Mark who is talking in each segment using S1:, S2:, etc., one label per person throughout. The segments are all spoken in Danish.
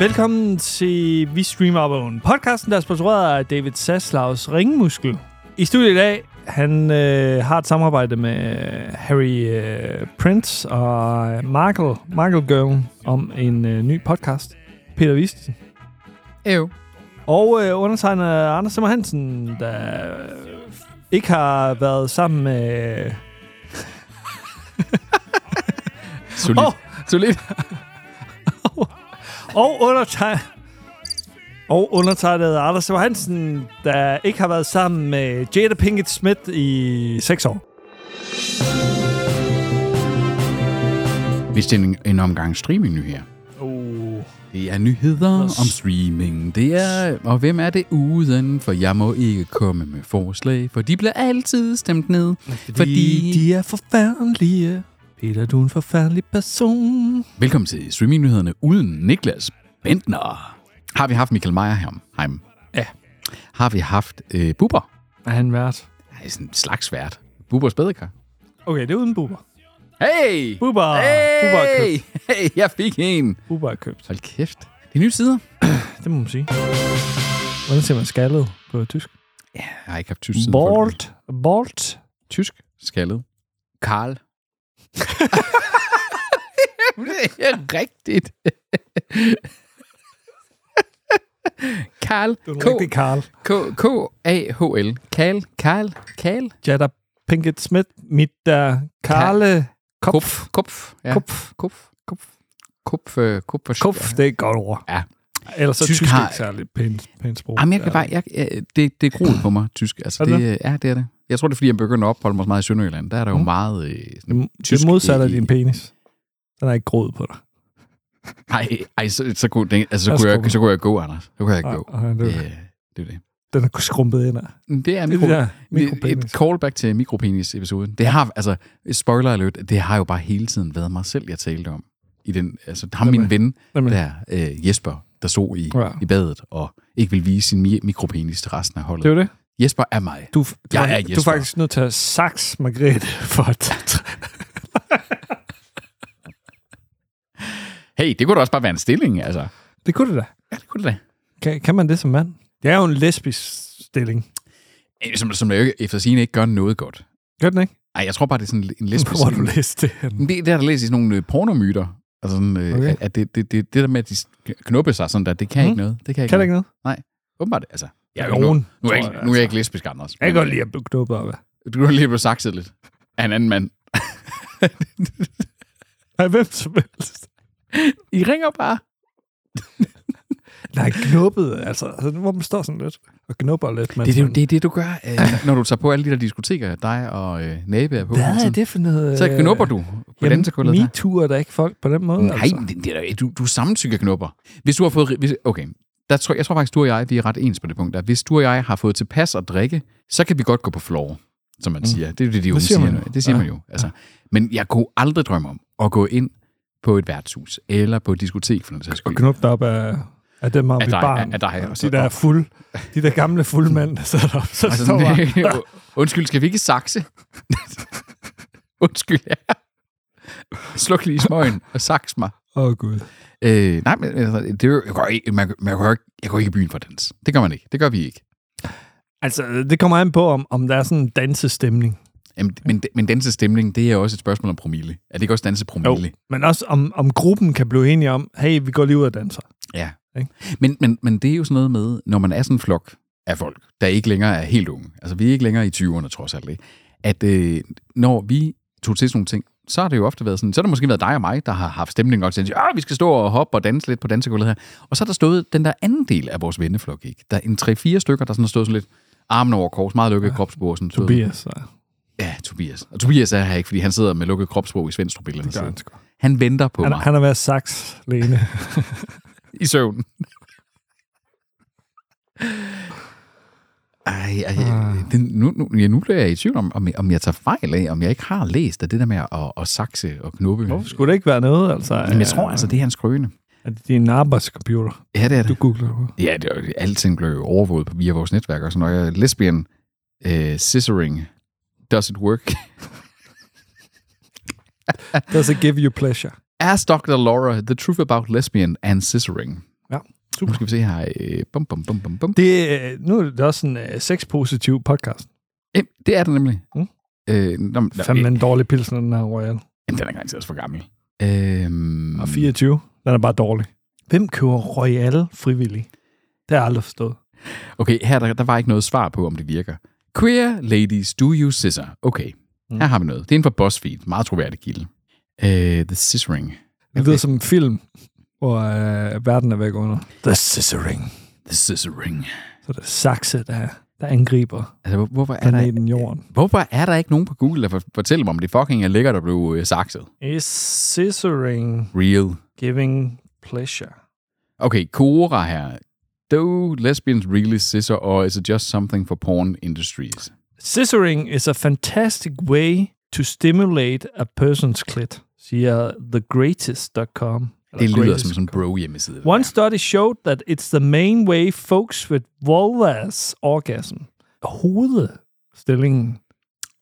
S1: Velkommen til Vi Streamer Open, podcasten, der er sponsoreret af David Saslaus ringmuskel. I studiet i dag, han øh, har et samarbejde med Harry øh, Prince og Markle, Markle Girl om en øh, ny podcast, Peter Vist.
S2: Øv.
S1: Og øh, undertegner Anders Simmer Hansen, der øh, ikke har været sammen med...
S2: Solid.
S1: Åh!
S2: Solid.
S1: Og undertegnet... Og undertegnet Anders Simmer Hansen, der ikke har været sammen med Jada Pinkett Smith i seks år.
S3: Hvis det er en, en omgang streaming nu her.
S1: Uh.
S3: Det er nyheder om streaming. Det er, og hvem er det uden? For jeg må ikke komme med forslag, for de bliver altid stemt ned.
S1: Fordi,
S3: Fordi-
S1: de er forfærdelige. Peter, du er en forfærdelig person.
S3: Velkommen til streamingnyhederne uden Niklas Bentner. Har vi haft Michael Meyer her? Heim.
S1: Ja.
S3: Har vi haft øh, Bubber?
S1: Er han vært?
S3: Nej, sådan en slags vært. Bubbers bedekar.
S1: Okay, det er uden buber.
S3: Hey!
S1: Bubber! Bubber er
S3: Hey!
S1: købt.
S3: hey! Jeg fik en.
S1: Buber er købt.
S3: Hold kæft. Det er nye sider.
S1: Det må man sige. Hvordan siger man skaldet på tysk?
S3: Jeg har ikke haft tysk siden. folkeskolen.
S1: Bort. Bort.
S3: Tysk. Skaldet. Karl. det er rigtigt. Karl.
S1: Du er en
S3: K-
S1: rigtig Karl.
S3: K- K-A-H-L. Karl. Karl. Karl.
S1: Jada Pinkett Smith, mit der Karle Kopf.
S3: Kupf. Kupf. Ja.
S1: Kupf.
S3: Kupf. Kupf. Kupf. øh, Kupf.
S1: Kupf, det er et godt ord.
S3: Ja.
S1: Ellers er
S3: Tysk
S1: tysk, tysk
S3: har-
S1: ikke særlig pænt, pænt sprog.
S3: Jamen, jeg kan bare, jeg, jeg- det, det er groet på mig, tysk. Altså,
S1: Er det
S3: det, øh, ja, det er det. Jeg tror, det er, fordi jeg begynder at opholde mig så meget i Sønderjylland. Der er der jo
S1: Mm.
S3: meget... Øh, sådan,
S1: Det,
S3: tysk
S1: det modsatte af
S3: i-
S1: din penis. Den er ikke groet på dig.
S3: ej, ej, så, så, kunne, det, altså,
S1: Jeg
S3: så, kunne jeg,
S1: skruer.
S3: så kunne jeg gå, Anders. Så kunne jeg gå.
S1: Ej, ej, det,
S3: Det, øh, det er det.
S1: Den er skrumpet ind af.
S3: Det er,
S1: Det er det
S3: mikro, det
S1: der mikropenis.
S3: et callback til mikropenis-episoden. Det har, altså, spoiler alert, det har jo bare hele tiden været mig selv, jeg talte om. I den, altså, ham
S1: Jamen.
S3: min ven,
S1: Jamen.
S3: der, øh, Jesper, der stod i,
S1: Ja.
S3: ja. i badet og ikke vil vise sin mi- mikropenis til resten af holdet.
S1: Det er jo det.
S3: Jesper er mig.
S1: Du, du,
S3: Jeg
S1: er,
S3: er
S1: du er
S3: Jesper.
S1: faktisk nødt til at saks Margrethe for at...
S3: Hey, det kunne da også bare være en stilling, altså.
S1: Det kunne det da.
S3: Ja, det kunne det da.
S1: Kan, kan man det som mand? Det er jo en lesbisk stilling.
S3: Øh, Som, som jeg jo ikke, efter sigende ikke gør noget godt.
S1: Gør den ikke?
S3: Ej, jeg tror bare, det er sådan en lesbisk...
S1: Hvor har du læst det henne?
S3: Men Det, det har der læst i sådan nogle øh, pornomyter. Altså sådan, øh,
S1: Okay.
S3: okay. at det, det, det, det der med, at de knuppe sig sådan der, det kan
S1: Mm.
S3: mm. ikke noget. Det kan ikke
S1: Kan det
S3: noget.
S1: ikke noget?
S3: Åbenbart, altså. Jeg er jo
S1: Nogen,
S3: nu, nu, er jeg,
S1: tror
S3: ikke- nu er
S1: altså.
S3: jeg ikke lesbisk, Anders. øh,
S1: Jeg kan godt lide at blive knuppet op af.
S3: Du er lige blevet sakset lidt af en anden mand.
S1: Af hvem som helst.
S3: I ringer bare.
S1: Nej, knuppet, altså. altså hvor man står sådan lidt og knupper lidt. Men
S3: Det er det, det, er det du gør, øh, når du tager på alle de der diskoteker, dig og øh, nabe er på. hele
S1: Hvad er
S3: tiden.
S1: det for noget? øh,
S3: Så knupper du på dansegulvet der.
S1: MeToo er da ikke folk på den måde.
S3: Nej,
S1: altså.
S3: det, det er der, ikke. du, du samtykker knupper. Hvis du har fået... Hvis, okay, der tror, jeg tror faktisk, du og jeg, vi er ret ens på det punkt. Der. Hvis du og jeg har fået tilpas at drikke, så kan vi godt gå på floor, som man siger. Det er jo det, de unge
S1: siger
S3: Mm. siger.
S1: man
S3: nu.
S1: jo.
S3: Det siger
S1: Ja.
S3: man jo. Altså. Men jeg kunne aldrig drømme om at gå ind på et værtshus, eller på et diskotek, for den sags
S1: Og
S3: skyld.
S1: knuppe dig op af, af dem her
S3: Af
S1: ved
S3: dig,
S1: barn.
S3: af- af dig, og
S1: de
S3: så-
S1: der er fulde, de der gamle fulde mænd, der sidder deroppe. Så
S3: Altså,
S1: står bare,
S3: sådan, undskyld, skal vi ikke sakse? undskyld, ja. Sluk lige smøgen og saks mig.
S1: åh oh, gud.
S3: Øh, nej, men altså, det er jo, jeg, går ikke, man, man går ikke, jeg går ikke i byen for dans. Det gør man ikke. Det gør vi ikke.
S1: Altså, det kommer an på, om, om der er sådan en dansestemning.
S3: Jamen, men, men dansestemning, det er jo også et spørgsmål om promille. Er det ikke også dansepromille?
S1: Men også om, om gruppen kan blive enige om, hey, vi går lige ud og danser.
S3: Ja.
S1: Ikke?
S3: Men, men, men det er jo sådan noget med, når man er sådan en flok af folk, der ikke længere er helt unge. Altså, vi er ikke længere i 20'erne, trods alt. Ikke? At øh, når vi tog til sådan nogle ting, så har det jo ofte været sådan, så har det måske været dig og mig, der har haft stemning og tænkt, at "Ah, vi skal stå og hoppe og danse lidt på dansegulvet her. Og så har der stået den der anden del af vores venneflok, ikke? Der er en 3-4 stykker, der sådan har stået sådan lidt armen over kors, meget lukket ja. kropsbord. Sådan, stået-
S1: Tobias, så
S3: Ja, Tobias. Og Tobias er her ikke, fordi han sidder med lukket kropsbog i Svendstrup. Det
S1: gør han sgu.
S3: Han venter på
S1: Han,
S3: mig
S1: han har været saks, Lene.
S3: i søvn. Ej, ej,
S1: Ah.
S3: det, nu, nu, ja, nu bliver jeg i tvivl om, om, jeg- om jeg tager fejl af, om jeg ikke har læst af det der med at, at, at sakse og knuppe.
S1: Hvorfor skulle det ikke være noget, altså?
S3: Men jeg tror altså, det er hans krøne.
S1: At det er din arbejdscomputer.
S3: Ja, det er det.
S1: Du googler det.
S3: Ja, det er, jo- alting blev jo overvåget via vores netværk, og så når jeg er lesbian, øh, scissoring, does it work?
S1: Does it give you pleasure?
S3: Ask Dr. Laura the truth about lesbian and scissoring.
S1: Ja,
S3: Super. Nu skal vi se her. Øh, bum, bum, bum, bum, bum.
S1: Det, øh, nu er det også en øh, sexpositiv podcast.
S3: Eh, det er det nemlig.
S1: Mm.
S3: Øh, nå, men- nå, Mm.
S1: Fandme en dårlig pilsner, den her Royal.
S3: Jamen, den er garanteret også for gammel. Øhm,
S1: Og 24, den er bare dårlig. Hvem køber Royal frivillig? Det har jeg aldrig forstået.
S3: Okay, her der, der var ikke noget svar på, om det virker. Queer ladies, do you scissor? Okay,
S1: Mm.
S3: mm. her har vi noget. Det er inden for BuzzFeed. Meget troværdig kilde. Uh, the scissoring.
S1: Det lyder som en film, hvor øh, verden er væk under. The Scissoring.
S3: The scissoring.
S1: Så det er sakse, der, der angriber
S3: Altså, hvor- hvorfor er, der,
S1: planeten Jorden.
S3: hvorfor er der ikke nogen på Google, der for- fortæller mig, om det fucking er lækkert at blive øh, sakset?
S1: Is scissoring
S3: Real.
S1: giving pleasure?
S3: Okay, Cora her. Do lesbians really scissor, or is it just something for porn industries?
S1: Scissoring is a fantastic way to stimulate a person's clit, siger thegreatest.com.
S3: Det
S1: Eller
S3: lyder
S1: greatest
S3: som sådan en
S1: dot com.
S3: bro-hjemmeside.
S1: One study showed that it's the main way folks with vulvas orgasm, hovedstillingen,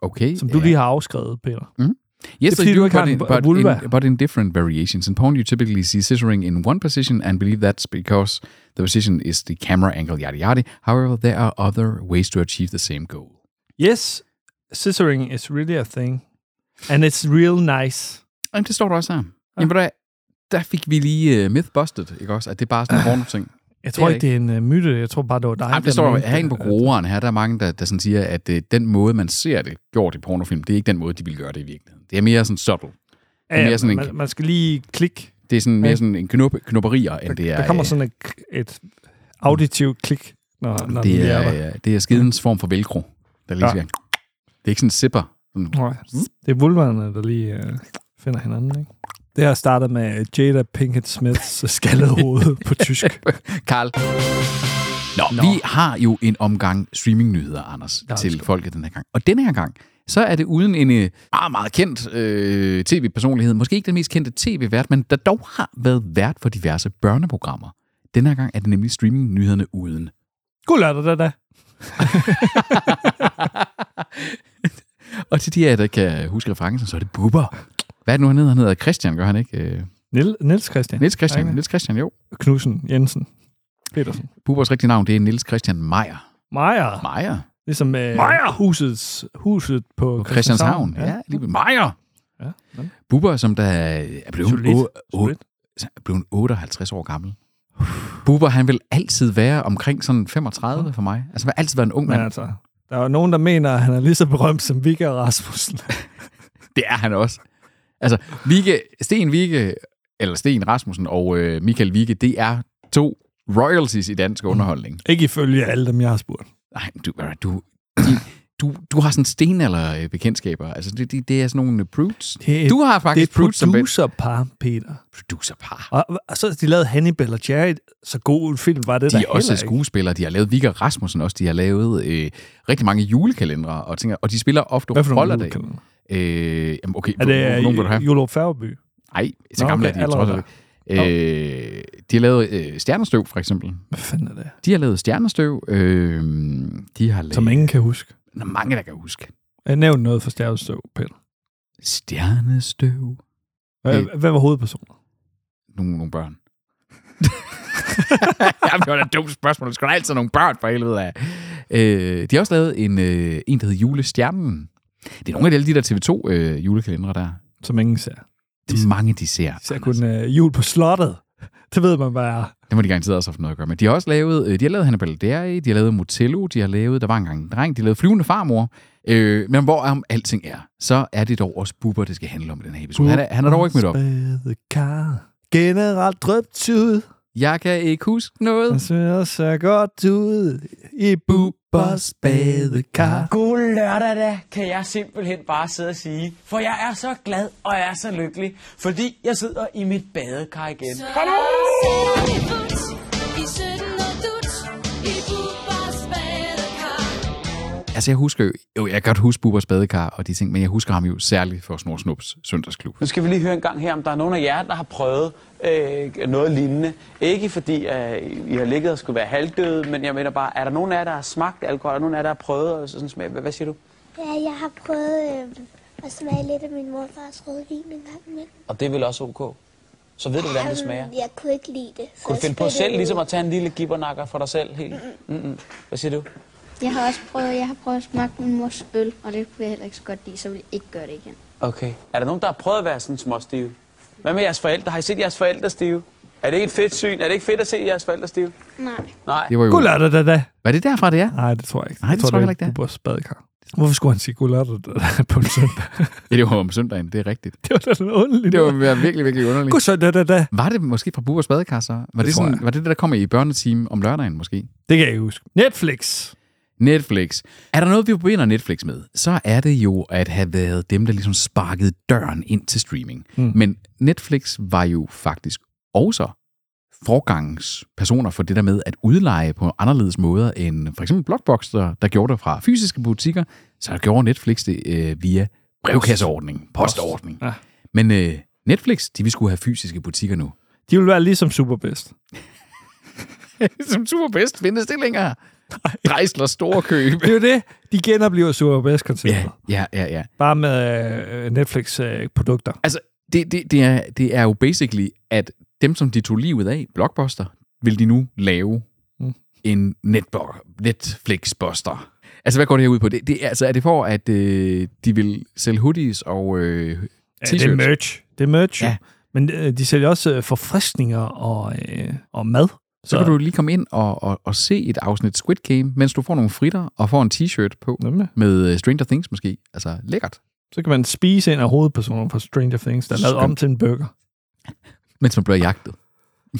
S3: Okay.
S1: som du lige har afskrevet, Peter.
S3: Yes,
S1: Det er
S3: I
S1: fordi,
S3: do,
S1: du ikke har
S3: but,
S1: en
S3: in,
S1: vu-
S3: but,
S1: vulva.
S3: in, but in different variations. In porn, you typically see scissoring in one position and believe that's because the position is the camera angle, yada yada. However, there are other ways to achieve the same goal.
S1: Yes, scissoring is really a thing. And it's real nice.
S3: Jamen, det står der også her. Jamen, der, der fik vi lige uh, mythbusted, ikke også? At det er bare sådan en porno-ting.
S1: Jeg
S3: er
S1: tror
S3: det
S1: ikke, det er en uh, myte. Jeg tror bare, det var dig.
S3: Ej,
S1: der
S3: Ah, det står
S1: mente
S3: jo herinde på
S1: det.
S3: groeren her. Der er mange, der, der sådan siger, at uh, den måde, man ser det gjort i pornofilm, det er ikke den måde, de ville gøre det i virkeligheden. Det er mere sådan subtle.
S1: Ja,
S3: mere sådan en-
S1: man, man skal lige klikke.
S3: Det er sådan mere
S1: Ja.
S3: sådan en knop, knopperier, end det er...
S1: Der kommer
S3: øh,
S1: sådan et, et auditivt klik, når, når den
S3: Det
S1: er der.
S3: er, øh, det er skidens form for velcro, der lige
S1: Ja.
S3: ja. Det er ikke sådan en zipper. Sådan.
S1: Nej,
S3: Mm.
S1: Det er vulverne, der lige øh, finder hinanden, ikke? Det her starter med Jada Pinkett Smiths skaldede hoved på tysk.
S3: Karl. Nå, Nå, vi har jo en omgang streamingnyheder, Anders,
S1: Ja,
S3: ja, til
S1: undskyld.
S3: folket den her gang. Og denne her gang, så er det uden en øh, meget, meget kendt øh, tv-personlighed. Måske ikke den mest kendte tv-vært, men der dog har været vært for diverse børneprogrammer. Denne her gang er det nemlig streamingnyhederne uden.
S1: God lørdag, da, da.
S3: Og til de af jer, der kan huske referencen, så er det Bubber. Hvad er det nu, han hedder? Han hedder Christian, gør han ikke? Øh,
S1: Niel, Niels Christian
S3: Niels Christian,
S1: Okay.
S3: Niels Christian, jo.
S1: Knudsen Jensen Petersen.
S3: Bubbers rigtige navn, det er Niels Christian Meyer.
S1: Meyer.
S3: Meyer?
S1: Ligesom øh, Meyer-husets huset på,
S3: På Christianshavn. Ja, lige ved Meyer.
S1: ja. ja.
S3: Bubber, som der er blevet,
S1: Solidt.
S3: o- o-
S1: Solidt.
S3: er blevet 58 år gammel. Bubber, han vil altid være omkring sådan 35 for mig. Altså, han vil altid være en ung
S1: Men
S3: mand.
S1: altså, der er jo nogen, der mener, at han er lige så berømt som Vigga Rasmussen.
S3: Det er han også. Altså, Vigge, Sten Vigge, eller Sten Rasmussen og øh, Michael Vigge, det er to royalties i dansk underholdning.
S1: Ikke ifølge alle dem, jeg har spurgt.
S3: Nej, du, du, de, du, du har sådan sten eller bekendtskaber. Altså, det, det, det er sådan nogle prudes.
S1: Det er-
S3: Du har
S1: Det er
S3: faktisk
S1: et
S3: prudes som ven.
S1: producerpar, Peter.
S3: producerpar.
S1: Og, og så har de lavet Hannibal og Jared. Så god en film var det
S3: De
S1: der
S3: er også
S1: heller ikke.
S3: skuespillere. De har lavet Vigga Rasmussen også. De har lavet øh, rigtig mange julekalendere og ting. Og de spiller ofte
S1: Hvad for
S3: roller
S1: nogle
S3: det.
S1: julekalender?
S3: Øh, jamen, okay,
S1: Er det
S3: hvor- hvor- hvor nogen vil du
S1: øh,
S3: have?
S1: Julo Færgeby?
S3: Nej, så
S1: Nå, okay,
S3: gamle er de, jeg tror
S1: allerede
S3: det. Øh, de har lavet øh, Stjernestøv, for eksempel.
S1: Hvad fanden er det?
S3: De har lavet Stjernestøv. Øh, de har lavet...
S1: Som ingen kan huske.
S3: Der er mange, der kan huske.
S1: Jeg nævnte noget for Stjernestøv, Peter.
S3: Stjernestøv.
S1: Hvad, hvad var hovedpersonen?
S3: Nogle, nogle børn. Jamen, det var da et dumt spørgsmål. Det skulle da altid være nogle børn, for helvede af. Øh, de har også lavet en, øh, en, der hedder Julestjernen. Det er nogle af alle de der TV2-julekalendere øh, der.
S1: Som ingen ser.
S3: Det er mange, de ser.
S1: Så kun øh, jul på slottet. Det ved man bare er.
S3: Det må de garanteret også have haft noget at gøre med. De har også lavet, øh, de har lavet Hannibal Deri, de har lavet Motello, de har lavet, der var engang en dreng, de har lavet Flyvende Farmor. Øh, men hvor om alting er, så er det dog også Bubber, det skal handle om i den her episode. Han er, han er dog ikke mødt op.
S1: Spade kar. Generelt drøbt ud.
S3: Jeg kan ikke huske noget.
S1: Han ser så godt ud. I bubbers badekar.
S4: God lørdag da, kan jeg simpelthen bare sidde og sige. For jeg er så glad, og jeg er så lykkelig, fordi jeg sidder i mit badekar igen.
S5: Hallo! I fut, i 17 og dut, i Bubbers badekar.
S3: Altså, jeg husker jo, jo, jeg kan godt huske Bubbers badekar og de ting, men jeg husker ham jo særligt for Snor Snups søndagsklub.
S4: Nu skal vi lige høre en gang her, om der er nogen af jer, der har prøvet øh, noget lignende. Ikke fordi øh, I har ligget og skulle være halvdøde, men jeg mener bare, er der nogen af jer, der har smagt alkohol? Er der nogen af jer, der har prøvet og sådan smag? Hvad, hvad siger du?
S6: Ja, jeg har øhm, prøvet øh, at smage lidt af min morfars rødvin en gang imellem.
S4: Og det er vel også ok? så ved du, hvordan det smager.
S6: Jeg kunne ikke lide det. så
S4: Kunne du
S6: jeg
S4: finde på
S6: spyttede
S4: selv
S6: det
S4: ligesom
S6: ud.
S4: at tage en lille gibbernakker for dig selv? Helt? Mm-mm. Hvad siger du?
S6: Jeg har også prøvet, jeg har prøvet at smage min mors øl, og det kunne jeg heller ikke så godt lide, så ville jeg ikke gøre det igen.
S4: Okay. Er der nogen, der har prøvet at være sådan småstive? Hvad med jeres forældre? Har I set jeres forældre stive? Er det ikke et fedt syn? Er det ikke fedt at se jeres forældre stive?
S6: Nej.
S4: Nej.
S3: Det var jo...
S1: Guldlørdag, da, da.
S3: Var det derfra, det er?
S1: Nej, det tror jeg ikke.
S3: Nej, det tror jeg heller ikke, det
S1: er. Bubbers badekar. Hvorfor skulle han sige guldlørdag, da, da, på en søndag?
S3: Ja, det var om søndagen, det er rigtigt.
S1: det var da noget underligt.
S3: Det var virkelig, virkelig underligt.
S1: Gudsøj, da, da, da.
S3: Var det måske fra Bubbers Badekar, så? Var det, det,
S1: tror
S3: sådan,
S1: jeg.
S3: var det det, der kommer i børnetime om lørdagen, måske?
S1: Det kan jeg ikke huske. Netflix.
S3: Netflix. Er der noget, vi forbinder Netflix med, så er det jo at have været dem, der ligesom sparkede døren ind til streaming. Mm. Men Netflix var jo faktisk også forgangspersoner for det der med at udleje på anderledes måder end for eksempel Blockbox, der, der gjorde det fra fysiske butikker, så gjorde Netflix det øh, via brevkasseordning, postordning.
S1: Ja.
S3: Men øh, Netflix, de vil skulle have fysiske butikker nu.
S1: De ville være ligesom Superbest.
S3: Som superbedst findes det længere. Drejsler store køb.
S1: Det er jo det. De genoplever Superbest-konceptet.
S3: ja, ja, ja, ja.
S1: Bare med øh, Netflix-produkter.
S3: Altså, det, det, det, er, det er jo basically, at dem, som de tog livet af, Blockbuster, vil de nu lave
S1: Mm.
S3: mm. en netbor- Netflix-buster. Altså, hvad går det her ud på? Det, det, er- altså, er det for, at øh, de vil sælge hoodies og øh,
S1: Ja, det er
S3: t-shirts?
S1: merch. Det er merch, ja.
S3: Ja.
S1: Men øh, de sælger også øh, forfriskninger og, øh, og mad.
S3: så kan du lige komme ind og, og, og se et afsnit Squid Game, mens du får nogle fritter og får en t-shirt på
S1: Nemlig.
S3: med øh, Stranger Things måske. Altså, lækkert.
S1: Så kan man spise en af hovedpersonerne fra Stranger Things, der er lavet
S3: Skønt.
S1: om til en burger.
S3: Mens man bliver jagtet.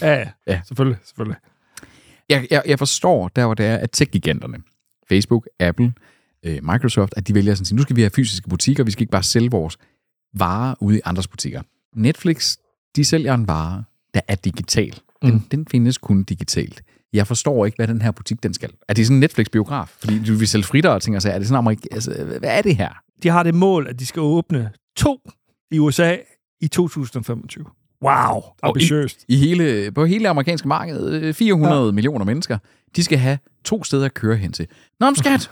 S1: Ja, ja.
S3: Ja.
S1: selvfølgelig, selvfølgelig.
S3: jeg, jeg, jeg forstår, der hvor det er, at tech-giganterne, Facebook, Apple, øh, Microsoft, at de vælger sådan at sige, nu skal vi have fysiske butikker, vi skal ikke bare sælge vores varer ude i andres butikker. Netflix, de sælger en vare, der er digital. Den,
S1: Mm.
S3: mm. den findes kun digitalt. Jeg forstår ikke, hvad den her butik, den skal. Er det sådan en Netflix-biograf? Fordi du vil sælge fritter og ting og sager. Er det sådan amerik... Altså, hvad er det her?
S1: De har det mål, at de skal åbne to i USA i 2025. Wow, ambitiøst.
S3: I hele, på hele det amerikanske marked, øh, 400 ja. millioner mennesker, de skal have to steder at køre hen til. Nå, men skat!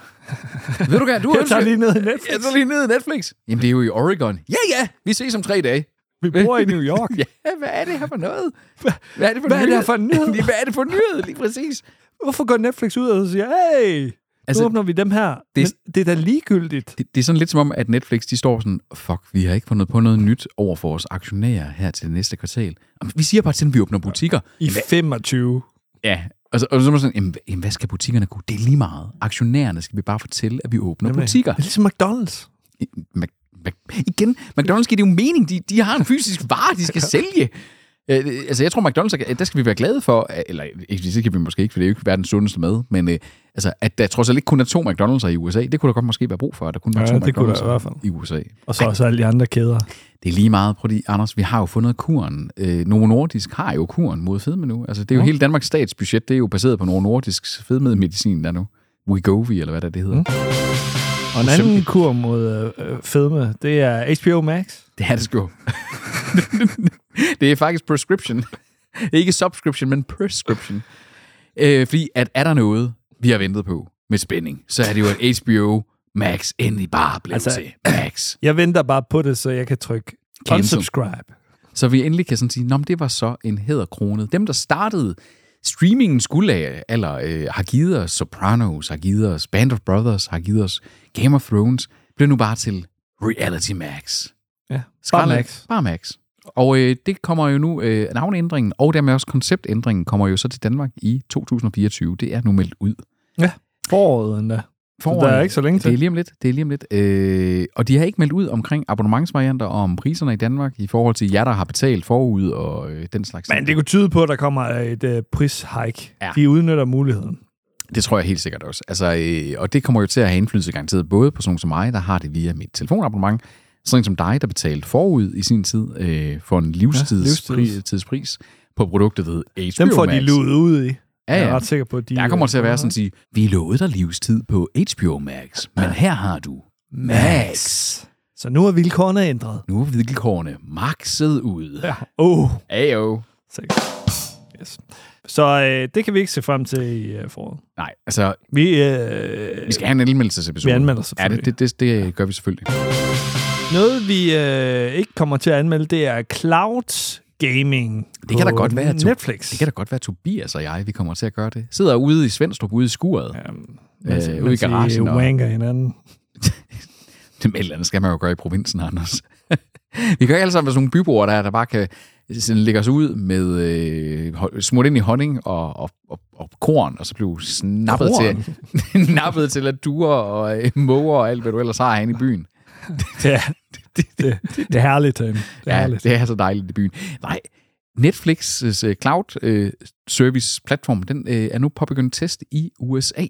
S3: ved du hvad, du
S1: Jeg tager
S3: ønsker-
S1: lige ned i Netflix.
S3: Jeg tager lige ned i Netflix. Jamen, det er jo i Oregon. Ja, ja, vi ses om tre dage.
S1: Vi bor i New York.
S3: ja, hvad er det her for noget? Hvad er det for
S1: Hvad er det
S3: nyhed?
S1: her for en nyhed?
S3: Lige, hvad er det for en nyhed, lige præcis?
S1: Hvorfor går Netflix ud og siger, hey, nu altså,
S3: Altså,
S1: åbner vi dem her? Det,
S3: det-
S1: Men det er da ligegyldigt.
S3: Det, det er sådan lidt som om, at Netflix, de står sådan, fuck, vi har ikke fundet på noget nyt over for vores aktionærer her til det næste kvartal. Jamen, Vi siger bare til dem, vi åbner butikker.
S1: I 25.
S3: Ja. Og så, og så er man sådan, jamen, jamen, hvad skal butikkerne kunne? Det er lige meget. Aktionærerne skal vi bare fortælle, at vi åbner
S1: Nemlig.
S3: butikker.
S1: Det er ligesom McDonald's.
S3: Mac- Mac- igen, McDonald's giver det jo mening. De, de har en fysisk vare, de skal sælge. Øh, det- altså, jeg tror, McDonald's, er- der skal vi være glade for, øh, eller ikke, det skal vi måske ikke, for det er jo ikke verdens sundeste mad, men øh, altså, at der trods alt ikke kun er to McDonald's'er i USA, det kunne der godt måske være brug for, at der kun var
S1: Ja,
S3: to
S1: det kunne der i hvert fald.
S3: McDonald's'er i USA.
S1: Og så også alle de andre kæder.
S3: Det er lige meget, prøv lige, Anders, vi har jo fundet kuren. Øh, Novo Nordisk har jo kuren mod fedme nu. Altså, det er jo hele Danmarks statsbudget, det er jo baseret på Novo Nordisks fedmedicin der nu. Wegovy, eller hvad der det hedder. Mm.
S1: Og en anden kur mod øh, øh, fedme, det er HBO Max.
S3: Det er det sgu. det er faktisk prescription. Ikke subscription, men prescription. Øh, fordi at er der noget, vi har ventet på med spænding, så er det jo, at HBO Max endelig bare blev
S1: Altså-
S3: altså, til Max.
S1: Jeg venter bare på det, så jeg kan trykke
S3: Cancel.
S1: unsubscribe.
S3: Så vi endelig kan sådan sige, Nå, men det var så en hæderkrone. Dem, der startede streamingen skulle af, eller øh, har givet os Sopranos, har givet os Band of Brothers, har givet os Game of Thrones, blev nu bare til Reality Max.
S1: Ja, bare
S3: Scarlett.
S1: Max.
S3: Bare Max. Og øh, det kommer jo nu, øh, navneændringen og dermed også konceptændringen kommer jo så til Danmark i 2024. Det er nu meldt ud.
S1: Foråret endda.
S3: Foråret-
S1: der er ikke så længe til.
S3: Det er lige om lidt. Det er lige om lidt. Øh, og de har ikke meldt ud omkring abonnementsvarianter og om priserne i Danmark i forhold til jer, der har betalt forud og øh, den slags.
S1: Men det kunne tyde på, at der kommer et øh, prishike. Ja.
S3: Ja.
S1: De udnytter muligheden.
S3: Det tror jeg helt sikkert også. Altså, øh, og det kommer jo til at have indflydelse garanteret både på sådan nogen som mig, der har det via mit telefonabonnement, sådan en som dig, der betalte forud i sin tid øh, for en
S1: livstids.
S3: livstidspris på produktet ved HBO
S1: Dem får de
S3: Max.
S1: luet ud i.
S3: Ja,
S1: Jeg er
S3: ja.
S1: ret sikker på, at de...
S3: Der kommer
S1: øh,
S3: til at være sådan at sige, vi lovede dig livstid på HBO Max, men her har du Max.
S1: Så nu er vilkårene ændret.
S3: Nu er vilkårene maxet ud.
S1: Ja. Oh.
S3: Ajo.
S1: Yes. Så øh, det kan vi ikke se frem til i øh, foråret.
S3: Nej, altså,
S1: Vi, øh,
S3: vi skal have en anmeldelsesepisode.
S1: Vi anmelder
S3: Ja,
S1: selvfølgelig.
S3: det, det, det, det gør vi selvfølgelig.
S1: Noget, vi øh, ikke kommer til at anmelde, det er cloud gaming
S3: Det kan da godt være, at
S1: Netflix.
S3: Det kan da godt være, at Tobias og jeg, vi kommer til at gøre det. Sidder ude i Svendstrup, ude i skuret. Ja.
S1: mens,
S3: øh,
S1: øh,
S3: ude i
S1: mens
S3: garagen
S1: I
S3: og-
S1: wanker hinanden.
S3: Det med et eller andet skal man jo gøre i provinsen, Anders. vi kan jo ikke alle sammen være sådan nogle byboer, der, er, der bare kan sådan lægge os ud med øh, hå- smurt ind i honning og, og, og, og korn, og så blive snappet
S1: Korn?
S3: til, nappet til at duer og øh, måger og alt, hvad du ellers har herinde i byen.
S1: Ja, det, det, det, det er herligt, Tim. Det er
S3: Ja,
S1: herligt.
S3: det er så dejligt i byen. Nej, Netflix' øh, cloud øh, service platform, den øh, er nu påbegyndt test i USA.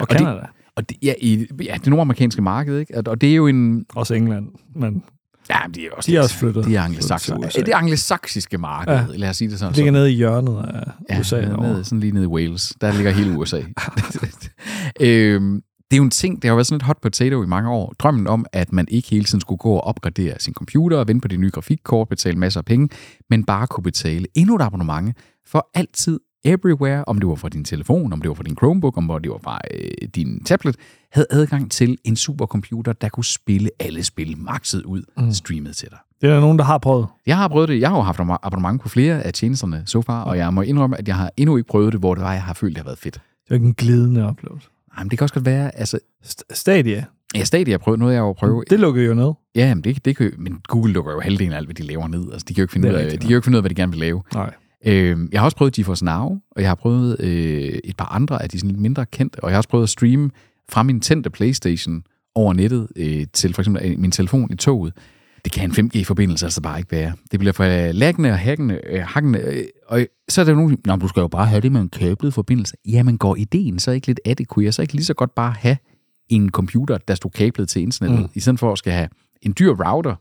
S1: Og
S3: det-
S1: Canada.
S3: Og det, ja, i, ja, det nordamerikanske marked, ikke? Og, og det er jo en...
S1: Også England. Men
S3: Ja, men det er også,
S1: De er også flyttet.
S3: Det er
S1: Flyttet til
S3: anglosakser.
S1: USA.
S3: Det er anglosachsiske marked, ja. lad os sige det sådan.
S1: det ligger nede i hjørnet af
S3: ja,
S1: USA.
S3: nede-
S1: derovre.
S3: nede, sådan lige nede i Wales. Der ligger hele USA. øhm, det er jo en ting, det har jo været sådan lidt hot potato i mange år. Drømmen om, at man ikke hele tiden skulle gå og opgradere sin computer og vente på det nye grafikkort, betale masser af penge, men bare kunne betale endnu et abonnement for altid everywhere, om det var fra din telefon, om det var fra din Chromebook, om det var fra øh, din tablet, havde adgang til en supercomputer, der kunne spille alle spil maxet ud, mm. streamet til dig.
S1: Det er der nogen, der har prøvet.
S3: Jeg har prøvet det. Jeg har jo haft abonnement på flere af tjenesterne så far, og jeg må indrømme, at jeg har endnu ikke prøvet det, hvor det var, jeg har følt, det har været fedt.
S1: Det er jo ikke en glidende oplevelse.
S3: Ej, men det kan også godt være, altså,
S1: St- Stadia,
S3: jeg stadig har prøvet noget, jeg har jo prøvet.
S1: det lukker jo ned.
S3: Ja, jamen det, det kan, jo- men Google lukker jo halvdelen af alt, hvad de laver ned. Altså, de kan jo ikke finde,
S1: Det
S3: ud
S1: er
S3: af, de
S1: rigtigt,
S3: kan jo ikke finde ud af, hvad de gerne vil lave.
S1: Nej.
S3: Øh, jeg har også prøvet GeForce Now, og jeg har prøvet øh, et par andre af de sådan lidt mindre kendte, og jeg har også prøvet at streame fra min tændte Playstation over nettet øh, til for eksempel øh, min telefon i toget. Det kan en 5G-forbindelse altså bare ikke være. Det bliver for øh, laggende og hakkende, øh, hakkende øh, og øh, så er der jo nogen, der siger, "Nå, men du skal jo bare have det med en kablet forbindelse. Jamen går ideen så ikke lidt af det? Kunne jeg så ikke lige så godt bare have en computer, der stod kablet til internettet, mm. i stedet for at skal have en dyr router,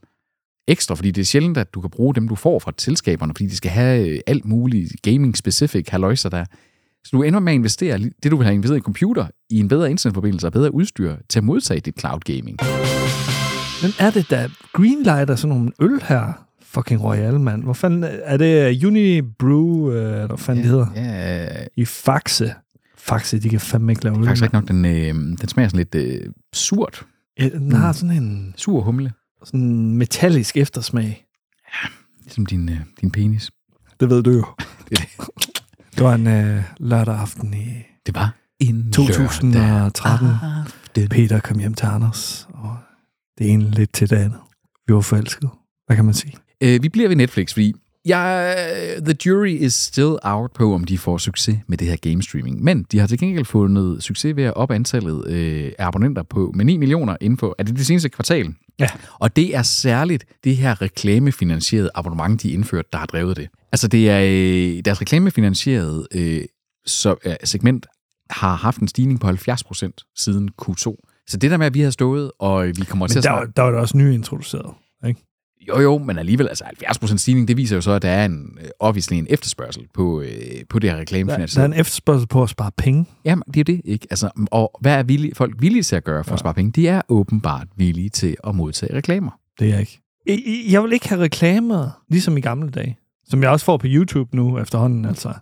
S3: ekstra, fordi det er sjældent, at du kan bruge dem, du får fra selskaberne, fordi de skal have øh, alt muligt gaming-specific haløjser der. Så du ender med at investere li- det, du vil have investeret i en computer, i en bedre internetforbindelse og bedre udstyr til at modtage dit cloud gaming.
S1: Men er det da greenlighter sådan nogle øl her? Fucking Royal, mand. Hvor fanden er det? øh, Unibrew, øh, eller hvad fanden ja, det hedder? Ja.
S3: Ja,
S1: I Faxe. Faxe, de kan fandme ikke lave øl.
S3: faktisk
S1: mand.
S3: ikke nok, den, øh, den smager sådan lidt øh, surt.
S1: Ja, Øh, Den har sådan en
S3: Sur humle,
S1: sådan en metallisk eftersmag.
S3: ligesom din, øh, din penis.
S1: Det ved du jo.
S3: Det er
S1: Det var en øh, lørdag aften i
S3: Det var en
S1: 2013.
S3: lørdag.
S1: Peter kom hjem til Anders, og det ene lidt til det andet. Vi var forelskede. Hvad kan man sige?
S3: Øh, vi bliver ved Netflix, fordi jeg, the jury is still out på, om de får succes med det her game streaming. Men de har til gengæld fundet succes ved at op antallet øh, af abonnenter på med 9 millioner inden for, er det det seneste kvartal?
S1: Ja.
S3: Og det er særligt det her reklamefinansierede abonnement, de indførte, der har drevet det. Altså det er øh, deres reklamefinansierede øh, så, øh, segment har haft en stigning på 70% siden Q2. Så det der med, at vi har stået, og vi kommer til
S1: Men
S3: at
S1: der,
S3: snakke-
S1: var- der var det også nyintroduceret. Ikke?
S3: jo, jo, men alligevel, altså 70% stigning, det viser jo så, at der er en, øh, obviously en efterspørgsel på, øh, på det
S1: Der, der
S3: her
S1: er
S3: reklamefinansiering.
S1: en efterspørgsel på at spare penge.
S3: Jamen, det er jo det, ikke? Altså, og hvad er villige, folk villige til at gøre for ja. at spare penge? De er åbenbart villige til at modtage reklamer.
S1: Det er jeg ikke. I- I- Jeg vil ikke have reklamer, ligesom i gamle dage. Som jeg også får på YouTube nu efterhånden, altså.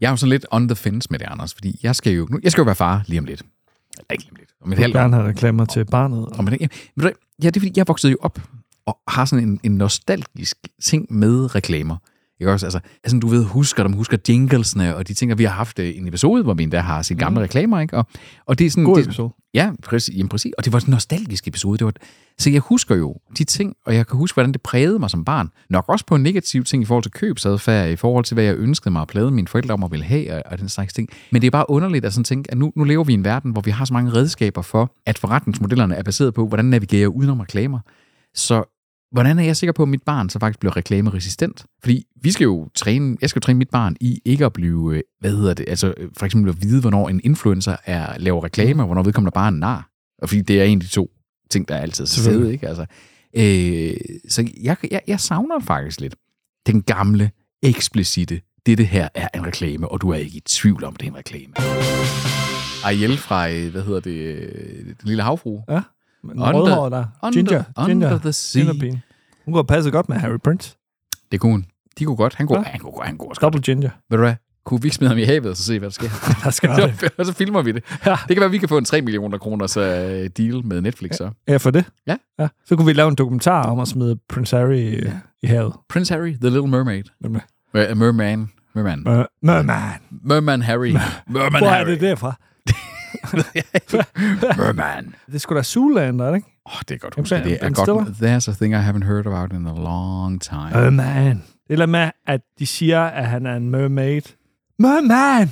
S3: Jeg er jo sådan lidt on the fence med det, Anders, fordi jeg skal jo, nu, jeg skal jo være far lige om lidt. Eller ikke lige om lidt. Om et
S1: Jeg vil
S3: halvt år.
S1: gerne have reklamer til barnet.
S3: Om et, ja, ved du hvad? ja, det er fordi, jeg voksede jo op og har sådan en, en nostalgisk ting med reklamer. Ikke også? Altså, altså, du ved, husker dem, husker jinglesene, og de ting, og vi har haft øh, en episode, hvor vi endda har set gamle reklamer, ikke? Og, og det er sådan,
S1: God
S3: det,
S1: episode.
S3: Ja, præcis, jamen præcis. Og det var en nostalgisk episode. Det var, så jeg husker jo de ting, og jeg kan huske, hvordan det prægede mig som barn. Nok også på en negativ ting i forhold til købsadfærd, i forhold til, hvad jeg ønskede mig at plade mine forældre om at ville have, og, og den slags ting. Men det er bare underligt at sådan tænke, at nu, nu lever vi i en verden, hvor vi har så mange redskaber for, at forretningsmodellerne er baseret på, hvordan navigerer jeg udenom reklamer. Så hvordan er jeg sikker på, at mit barn så faktisk bliver reklameresistent? Fordi vi skal jo træne, jeg skal jo træne mit barn i ikke at blive, øh, hvad hedder det, altså øh, for eksempel at vide, hvornår en influencer er, laver
S1: Mm.
S3: reklamer, og hvornår vedkommende bare er en nar. Og fordi det er en af de to ting, der er altid så fede,
S1: Selvfølgelig.
S3: ikke? Altså, øh, så jeg, jeg, jeg savner faktisk lidt den gamle, eksplicite, dette her er en reklame, og du er ikke i tvivl om, det er en reklame. Ariel fra, øh, hvad hedder det, øh, Den Lille Havfru,
S1: Ja. Men
S3: Under-
S1: rødhåret der.
S3: under-
S1: Ginger.
S3: under
S1: Ginger.
S3: the sea.
S1: Gingerpigen. Hun kunne have passet godt med Harry Prince.
S3: det kunne hun. De kunne godt, han kunne,
S1: Ja.
S3: han kunne, han kunne også
S1: Double ginger.
S3: Ved du hvad? Kunne vi ikke smide ham i havet og så se, hvad der sker?
S1: Der skal det.
S3: Så, og så filmer vi det.
S1: Ja.
S3: Det kan være, at vi kan få en 3 millioner kroners uh, deal med Netflix så.
S1: Ja, for det.
S3: Ja.
S1: ja. Så kunne vi lave en dokumentar om at smide Prince Harry ja. i havet.
S3: Prince Harry, The Little Mermaid.
S1: Merman.
S3: Uh, merman. Merman.
S1: Mer- Merman.
S3: Merman Harry. Merman
S1: Hvor er
S3: Harry.
S1: det derfra?
S3: Merman.
S1: Det er sgu da Zoolander, ikke?
S3: Åh, oh, det er godt
S1: Jamen,
S3: huske.
S1: så er
S3: Det er
S1: Ben
S3: godt. There's a thing I haven't heard about in a long time.
S1: Merman. Det er et eller andet med, at de siger, at han er en mermaid. Merman!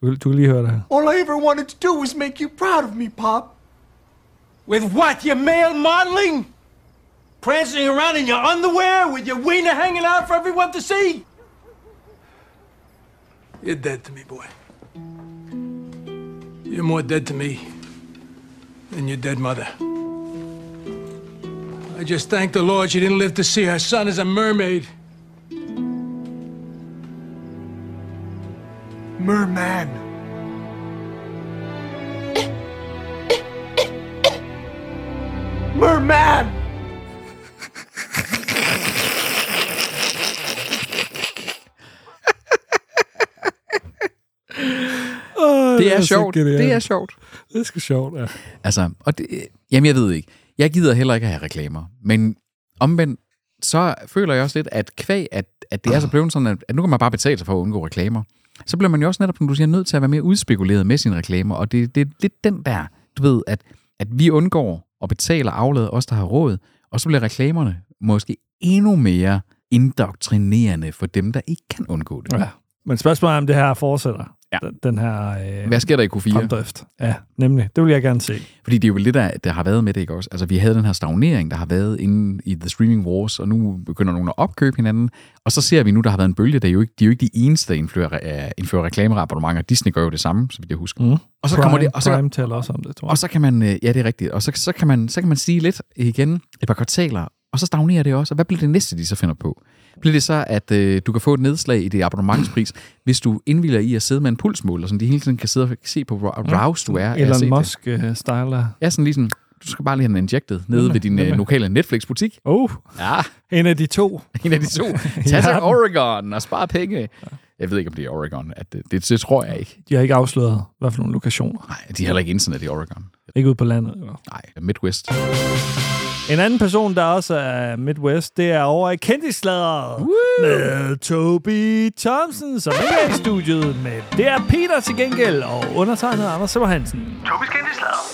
S1: Du, kan- du kan lige høre det her.
S7: All I ever wanted to do was make you proud of me, Pop. With what? Your male modeling? Prancing around in your underwear with your wiener hanging out for everyone to see? You're dead to me, boy. You're more dead to me than your dead mother. I just thank the Lord she didn't live to see her son as a mermaid. Merman. Merman!
S3: det er
S1: så
S3: sjovt.
S1: genialt.
S3: Det er sjovt.
S1: Det er sgu sjovt, ja.
S3: Altså, og det, jamen jeg ved ikke. Jeg gider heller ikke at have reklamer. Men omvendt, så føler jeg også lidt, at kvæg, at, at det er så blevet sådan, at, at nu kan man bare betale sig for at undgå reklamer. Så bliver man jo også netop, som du siger, nødt til at være mere udspekuleret med sine reklamer. Og det, det er lidt den der, du ved, at, at vi undgår og betaler afladet os, der har råd. Og så bliver reklamerne måske endnu mere indoktrinerende for dem, der ikke kan undgå det.
S1: ja. Men spørgsmålet er, om det her fortsætter.
S3: Ja.
S1: Den- Den her øh,
S3: Hvad sker der i Q4?
S1: fremdrift. Ja, nemlig. Det vil jeg gerne se.
S3: Fordi det er jo lidt, der, der har været med det, ikke også? Altså, vi havde den her stagnering, der har været inde i The Streaming Wars, og nu begynder nogen at opkøbe hinanden. Og så ser vi nu, der har været en bølge, der er jo ikke, de er jo ikke de eneste, der indfører, øh, indfører reklamerabonnementer. Disney gør jo det samme, så vidt jeg husker.
S1: Mm.
S3: Og så
S1: Prime,
S3: kommer det, og så,
S1: Prime taler også om det, tror jeg.
S3: og så kan man, øh, ja, det er rigtigt, og så, så, kan man, så kan man sige lidt igen et par kvartaler, og så stagnerer det også. Og hvad bliver det næste, de så finder på? Bliver det så, at øh, du kan få et nedslag i det abonnementspris, hvis du indvilder i at sidde med en pulsmåler, som de hele tiden kan sidde og se på, hvor roused du er. af at se
S1: Elon øh,
S3: det?
S1: Musk-styler.
S3: Ja, sådan lige sådan, du skal bare lige have den injected nede ved din øh, lokale Netflix-butik.
S1: Oh,
S3: Ja,
S1: en af de to.
S3: en af de to. Tag til Oregon og spare penge. Jeg ved ikke, om det er Oregon. At det, det, det tror jeg ikke.
S1: De har ikke afsløret, hvad for nogle lokationer.
S3: Nej, de har heller ikke internet i Oregon.
S1: Ikke ude på landet. Eller?
S3: Nej, Midwest.
S1: En anden person, der også er Midwest, det er over i kendtisladeret med Toby Thompson, som ikke er i studiet, men det er Peter til gengæld, og undertegnet Anders Simmer Hansen.
S8: Tobis kendte slader.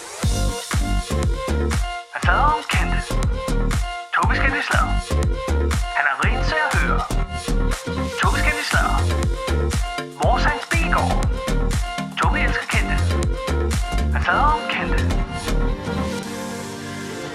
S8: Han slader om kendte. Tobis kendte slader. Han er rent til at høre. Tobis kendte slader. Vores hans bilgård. Tobi elsker kendte. Han slader om kendte.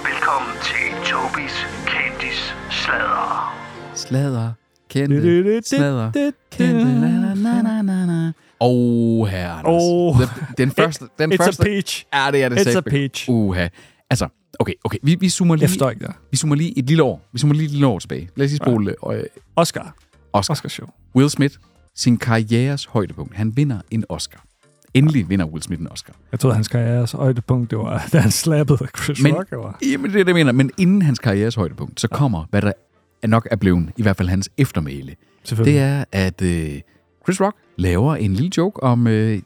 S8: Velkommen til Tobis kendtis slader.
S3: Slader. Kendte. Slader. Kendte. Na, na, na, na, na. Oh, herre Anders.
S1: Åh.
S3: Den, den første... Den
S1: It's a
S3: første,
S1: peach.
S3: Ja, det er det
S1: It's
S3: sagde-
S1: a peach.
S3: Uha. Altså, okay, okay. Vi, vi zoomer lige...
S1: Jeg forstår ikke det.
S3: Vi zoomer lige et lille år. Vi zoomer lige et lille år tilbage. Lad os lige spole øh,
S1: Oscar.
S3: Oscar.
S1: Oscar show.
S3: Will Smith, sin karrieres højdepunkt. Han vinder en Oscar. Endelig vinder Will Smith en Oscar.
S1: Jeg troede, hans karrieres højdepunkt, det var, da han slappede Chris
S3: Men,
S1: Rock. Eller?
S3: jamen, det er det, jeg mener. Men inden hans karrieres højdepunkt, så kommer, hvad der er nok er blevet, i hvert fald hans eftermæle.
S1: Selvfølgelig.
S3: Det er, at øh, Chris Rock laver en lille joke om øh,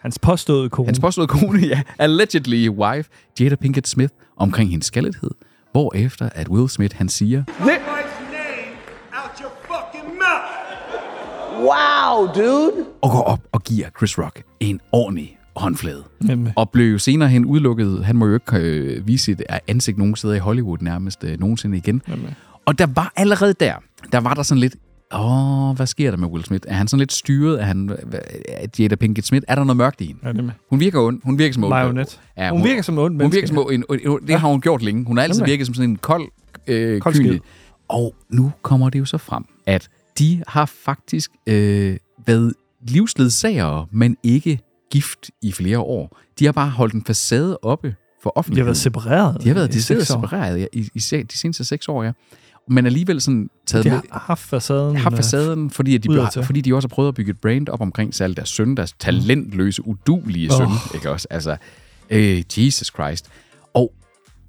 S1: Hans påståede kone.
S3: hans påståede kone, ja, allegedly wife, Jada Pinkett Smith, omkring hendes skaldhed. Hvorefter, at Will Smith, han siger,
S7: wife's name out your fucking mouth.
S4: Wow, dude!
S3: og går op og giver Chris Rock en ordentlig håndflade.
S1: Nemlig.
S3: Og blev jo senere hen udelukket. Han må jo ikke øh, vise sit ansigt nogen steder i Hollywood nærmest øh, nogensinde igen. Jamen. Og der var allerede der, der var der sådan lidt, åh, hvad sker der med Will Smith? Er han sådan lidt styret? Er han hva- er Jada Pinkett Smith? Er der noget mørkt i hende?
S1: Ja, det er med.
S3: Hun virker ond. Hun virker som ond.
S1: Marionet.
S3: Ja,
S1: Hun virker som en ond
S3: Hun
S1: menneske.
S3: virker som en, en, en, det har hun gjort længe. Hun har altid
S1: Jamen.
S3: virket som sådan en kold, øh,
S1: Kold
S3: kold
S1: skid.
S3: kynisk. Og nu kommer det jo så frem, at de har faktisk øh, været livsledsagere, men ikke gift i flere år. De har bare holdt en facade oppe for
S1: De har
S3: offentligheden.
S1: været separeret.
S3: De har været
S1: i
S3: decideret
S1: seks år.
S3: separeret ja, i, i, se- de seneste seks år, ja. Men alligevel sådan taget
S1: De
S3: med,
S1: har haft facaden.
S3: har
S1: øh,
S3: facaden, fordi, at de,
S1: udadtil.
S3: blev, fordi de også har prøvet at bygge et brand op omkring særligt deres søn, deres talentløse, udulige oh. søn, ikke også? Altså, øh, Jesus Christ. Og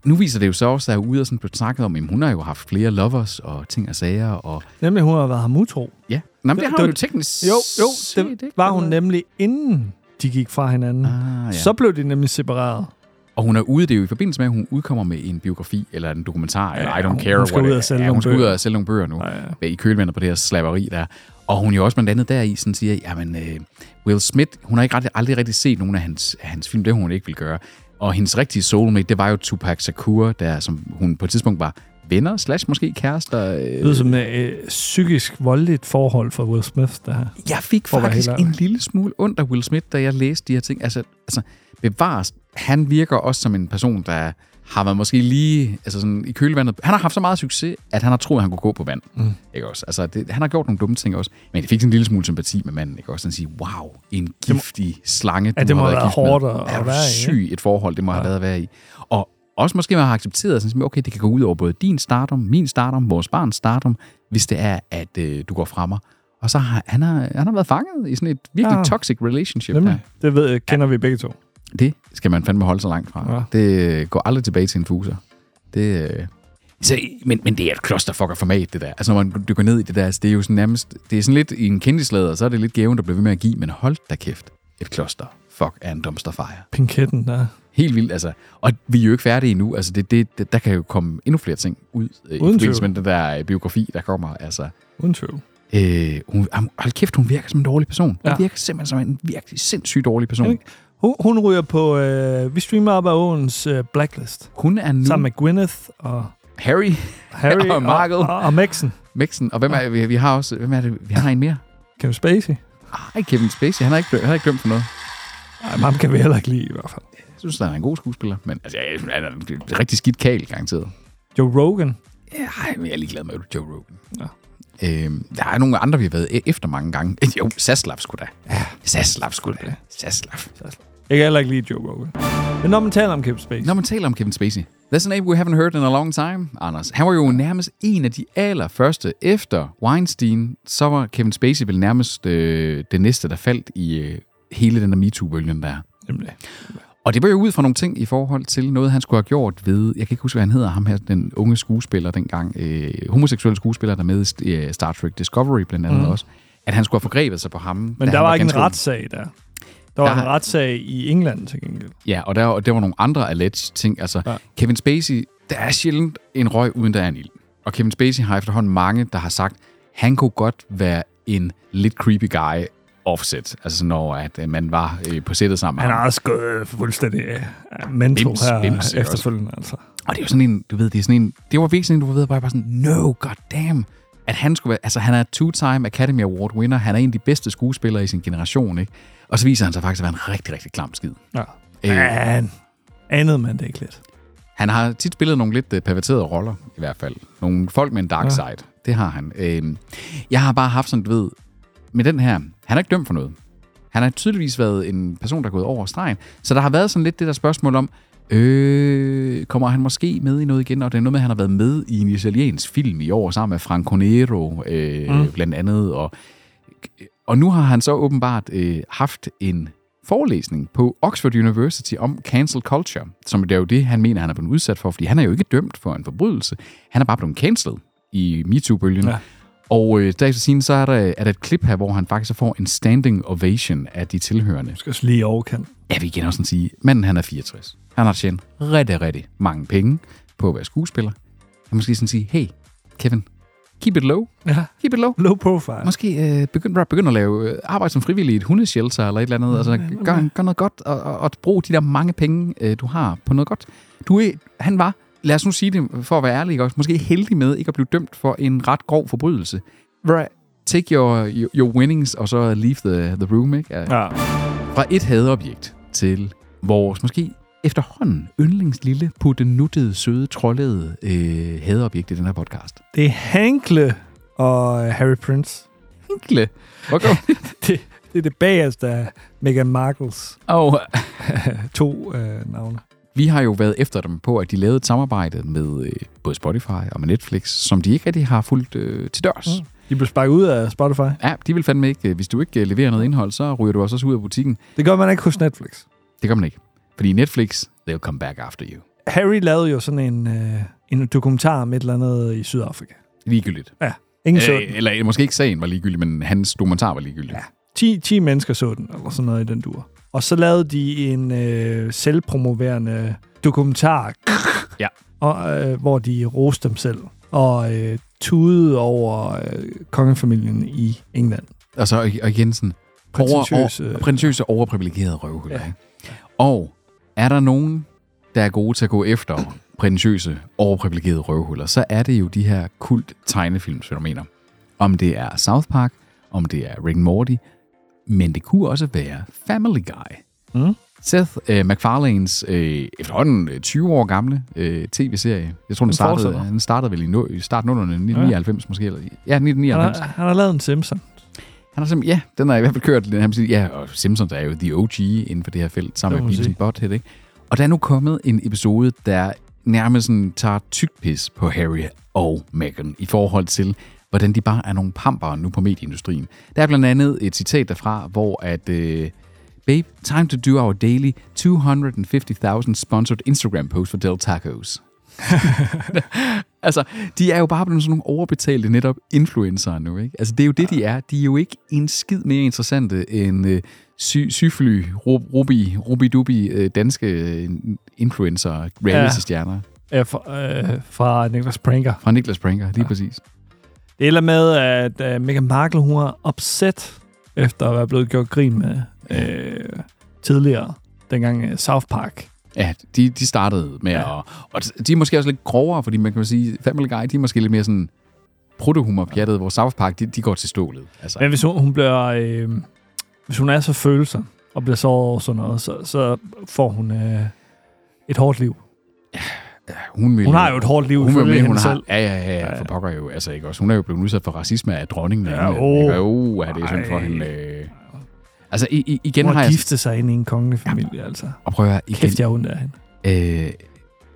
S3: nu viser det jo så også, at ude og sådan blev snakket om, at hun har jo haft flere lovers og ting og sager. Og,
S1: Nemlig, hun har været hamutro.
S3: ja. Nå, men det,
S1: Det-
S3: har
S1: det
S3: hun
S1: var-
S3: jo teknisk
S1: Jo, jo,
S3: set
S1: det
S3: ikke
S1: var hun
S3: været.
S1: nemlig, inden de gik fra hinanden.
S3: Ah, ja.
S1: Så blev de nemlig separeret.
S3: Og hun er ude, det er jo i forbindelse med, at hun udkommer med en biografi eller en dokumentar, ja, eller I don't
S1: hun-
S3: care
S1: hun skal
S3: what
S1: ud
S3: it-
S1: og sælge
S3: ja,
S1: nogle
S3: hun skal ud
S1: bøger.
S3: og sælge nogle bøger nu. Ja, ja. I kølvandet på det her slaveri der. Og hun er jo også blandt andet deri, sådan siger, jamen, øh, Will Smith, hun har ikke ret, aldrig rigtig set nogen af hans, af hans film, det har hun ikke vil gøre. Og hendes rigtige soulmate, det var jo Tupac Shakur, der, som hun på et tidspunkt var venner, slash måske kærester.
S1: Det
S3: Øh.
S1: lyder som et øh, psykisk voldeligt forhold for Will Smith, det her.
S3: Jeg fik
S1: For at være
S3: faktisk
S1: helt ærlig.
S3: en lille smule ondt af Will Smith, da jeg læste de her ting. Altså, altså bevares, han virker også som en person, der har været måske lige altså sådan, i kølevandet. Han har haft så meget succes, at han har troet, at han kunne gå på vand. Mm. Ikke også? Altså, det, han har gjort nogle dumme ting også. Men det fik sådan en lille smule sympati med manden. Ikke også? Han siger, wow, en giftig slange.
S1: Ja,
S3: du
S1: det må
S3: har
S1: have været
S3: gift med.
S1: hårdt at-
S3: Er
S1: at
S3: du
S1: være i, ikke?
S3: syg i et forhold, det må ja. have været at være i. Og også måske man har accepteret, sådan, som, okay, det kan gå ud over både din stardom, min stardom, vores barns stardom, hvis det er, at øh, du går fra mig. Og så har han, har, han har været fanget i sådan et virkelig
S1: Ja.
S3: ja. toxic relationship. Der.
S1: Nemlig. Det ved, øh, kender vi begge to.
S3: Det skal man fandme holde sig langt fra.
S1: Ja.
S3: Ja. Det øh, går aldrig tilbage til en fuser. Det, øh, så, men, men det er et klosterfucker format, det der. Altså, når man dykker ned i det der, altså, det er jo sådan nærmest... Det er sådan lidt i en kendislader, så er det lidt gaven, der bliver ved med at give, men hold da kæft. Et kloster. Fuck, er en dumpster fire.
S1: Pinketten, der.
S3: Helt vildt, altså. Og vi er jo ikke færdige endnu. Altså, det, det, det, der kan jo komme endnu flere ting ud øh,
S1: Uden
S3: i forbindelse
S1: tvivl.
S3: med den der øh, biografi, der kommer. Altså,
S1: Uden tvivl.
S3: øh, hun, am- hold kæft, hun virker som en dårlig person. Hun
S1: Ja.
S3: ja. virker simpelthen som en virkelig sindssygt dårlig person.
S1: Ikke? Hun, hun ryger på øh, Vi Streamer Op ad Åens øh, Blacklist.
S3: Hun er nu
S1: Sammen med Gwyneth og
S3: Harry
S1: Harry
S3: Og Markle.
S1: og, og, og Maxen.
S3: Mixen. Og hvem er, vi, vi har også, hvem er det? Vi har en mere.
S1: Kevin Spacey.
S3: Ej, Kevin Spacey. Han har ikke, han har ikke dømt for noget.
S1: Ej, ham kan vi heller ikke lide i hvert fald.
S3: Jeg synes, han er en god skuespiller. Men altså, jeg, han er en rigtig skidt kagel, garanteret.
S1: Joe Rogan.
S3: Ja, ej, men jeg er ligeglad med Joe Rogan. Ja. Øhm, der er nogle andre, vi har været e- efter mange gange. Eh, Jo, Saslav skulle da. Ja. Saslav skulle da. Saslav.
S1: Jeg kan heller ikke lide Joe Rogan. Men når man taler om Kevin Spacey,
S3: Når man taler om Kevin Spacey. That's a name we haven't heard in a long time, Anders. Han var jo nærmest en af de allerførste efter Weinstein. Så var Kevin Spacey vel nærmest øh, det næste, der faldt i øh, hele den der MeToo-bølgen der.
S1: Nemlig.
S3: Og det var jo ud fra nogle ting i forhold til noget, han skulle have gjort ved, jeg kan ikke huske, hvad han hedder, ham her, den unge skuespiller dengang, øh, homoseksuelle skuespiller, der er med i øh, Star Trek Discovery blandt andet mm. også, at han skulle have forgrebet sig på ham.
S1: Mhm. Men
S3: da
S1: der
S3: han
S1: var ikke en
S3: ganske ung.
S1: retssag der. Der var
S3: Der-
S1: en retssag i England til gengæld.
S3: Ja, og der, og der var nogle andre alleged ting. Altså,
S1: Ja.
S3: ja. Kevin Spacey, der er sjældent en røg, uden der er en ild. Og Kevin Spacey har efterhånden mange, der har sagt, han kunne godt være en lidt creepy guy offset. Altså, når at, øh, man var øh, på sættet sammen med
S1: Han
S3: ham.
S1: har også gået øh, fuldstændig øh, mental
S3: Bims,
S1: her
S3: bims, ikke
S1: efterfølgende. Altså.
S3: Og det er jo sådan en, du ved, det er sådan en, det var virkelig sådan en, du ved, hvor jeg bare sådan, no, god damn, at han skulle være, altså han er two-time Academy Award winner, han er en af de bedste skuespillere i sin generation, ikke? Og så viser han sig faktisk at være en rigtig, rigtig klam skid.
S1: Ja.
S3: Øh,
S1: Men andet man det ikke lidt.
S3: han har tit spillet nogle lidt øh, perverterede roller, i hvert fald. Nogle folk med en dark side. Det har han. Øh, jeg har bare haft sådan, du ved, med den her, han er ikke dømt for noget. Han har tydeligvis været en person, der er gået over stregen. Så der har været sådan lidt det der spørgsmål om, øh, kommer han måske med i noget igen? Og det er noget med, at han har været med i en italiensk film i år, sammen med Franco Nero, øh, mm. blandt andet. Og, og nu har han så åbenbart øh, haft en forelæsning på Oxford University om cancel culture, som det er jo det, han mener, han er blevet udsat for, fordi han er jo ikke dømt for en forbrydelse. Han er bare blevet cancelled i MeToo-bølgen.
S1: Ja.
S3: Ja. Og øh, derefter siden, så er der, er der et klip her, hvor han faktisk får en standing ovation af de tilhørende.
S1: Jeg skal også lige i overkant.
S3: Jeg vil igen også sådan sige, manden han er 64. Han har tjent rigtig, rigtig mange penge på at være skuespiller. Han måske sådan sige, hey, Kevin, keep it low.
S1: Ja.
S3: Keep it low.
S1: Low profile.
S3: Måske øh, begynd, bare begynd at lave øh, arbejde som frivillig i et hundeshelter eller et eller andet. Altså, gør, gør noget godt og, og, og brug de der mange penge, øh, du har på noget godt. Du er, han var, lad os nu sige det for at være ærlig, ikke også, måske heldig med ikke at blive dømt for en ret grov forbrydelse. Right. Take your, your, your winnings og så leave the, the room. Ikke? Ja.
S1: Ja.
S3: Fra et hadobjekt til vores måske efterhånden yndlings lille puttenuttede, søde, trollede øh, hadobjekt i den her podcast.
S1: Det er Hankle og øh, Harry Prince.
S3: Enkle. Okay.
S1: Det, det er det bagerste af Meghan Markles
S3: og
S1: to øh, navne.
S3: Vi har jo været efter dem på, at de lavede et samarbejde med øh, både Spotify og med Netflix, som de ikke rigtig har fulgt øh, til dørs. Mm.
S1: De blev sparket ud af Spotify.
S3: Ja, de vil fandme ikke. øh, Hvis du ikke øh, leverer noget indhold, så ryger du også ud af butikken.
S1: Det gør man ikke hos Netflix.
S3: Det gør man ikke. Fordi Netflix, they'll come back after you.
S1: Harry lavede jo sådan en, øh, en dokumentar om et eller andet i Sydafrika.
S3: Ligegyldigt.
S1: Ja, ingen så den.
S3: Eller, eller måske ikke sagen var ligegyldig, men hans dokumentar var ligegyldig. Ja.
S1: 10, 10 mennesker så den, eller sådan noget i den dur. Og så lavede de en øh, selvpromoverende dokumentar,
S3: Ja.
S1: og, øh, hvor de roste dem selv og øh, tudede over øh, kongefamilien i England.
S3: Altså, Og så og igen sådan...
S1: Prætentiøse.
S3: Over, prætentiøse, overprivilegerede røvhuller. øh, Ja. Og er der nogen, der er gode til at gå efter prætentiøse, overprivilegerede røvhuller, så er det jo de her kult tegnefilmsfænomener. Om det er South Park, om det er Rick and Morty, men det kunne også være Family Guy.
S1: Mm.
S3: Seth øh, MacFarlanes øh, efterhånden øh, 20 år gamle øh, tv-serie. Jeg tror, den, startede,
S1: fortsætter.
S3: han startede vel i, no, i starten af 1999 ja. måske. Eller, ja, 1999.
S1: Han, har, han har lavet en Simpson.
S3: Han har simpelthen, ja, den har i hvert fald kørt, den her, musik. ja, og Simpsons er jo the OG inden for det her felt, sammen
S1: Det må
S3: med
S1: man
S3: Beavis
S1: sige.
S3: and Butthead, ikke? Og der er nu kommet en episode, der nærmest sådan tager tykt pis på Harry og Meghan i forhold til, hvordan de bare er nogle pampere nu på medieindustrien. Der er blandt andet et citat derfra, hvor at... Øh, Babe, time to do our daily 250.000 sponsored Instagram post for Del Tacos. Altså, de er jo bare blevet sådan nogle overbetalte netop influencer nu, ikke? Altså, det er jo det, de er. De er jo ikke en skid mere interessante end øh, sy- syfly, ru- rubi, rubidubi øh, danske øh, influencer, reality-stjerner.
S1: Ja, fra, øh, fra Niklas Pranker.
S3: Fra Niklas Brinker, lige ja. præcis.
S1: Det er et eller andet med, at uh, Meghan Markle, hun er upset efter at være blevet gjort grin med øh, tidligere, dengang uh, South Park.
S3: Ja, de, de startede med ja.
S1: Ja.
S3: at... Og de er måske også lidt grovere, fordi man kan jo sige, Family Guy, de er måske lidt mere sådan protohumor pjattet, hvor South Park, de, de går til stålet. Altså,
S1: Men hvis hun, hun bliver... Øh, hvis hun er så følsom og bliver såret over sådan noget, så, så får hun øh, et hårdt liv.
S3: hun, vil
S1: Hun har jo et hårdt liv,
S3: Hun,
S1: ifølge
S3: hun, hun
S1: hende
S3: har,
S1: selv.
S3: ja, ja, ja, ja, for pokker jo, altså ikke også. Hun er jo blevet udsat for racisme af dronningen.
S1: Ja,
S3: Ja, oh,
S1: åh.
S3: oh, er det er synd for
S1: Ej.
S3: hende. Øh. Altså, i, i, igen
S1: Hun
S3: har
S1: har
S3: jeg...
S1: giftet sig ind i en kongefamilie, ja. altså.
S3: Og prøv at høre, igen,
S1: Kæft, jeg er ondt af hende.
S3: Øh,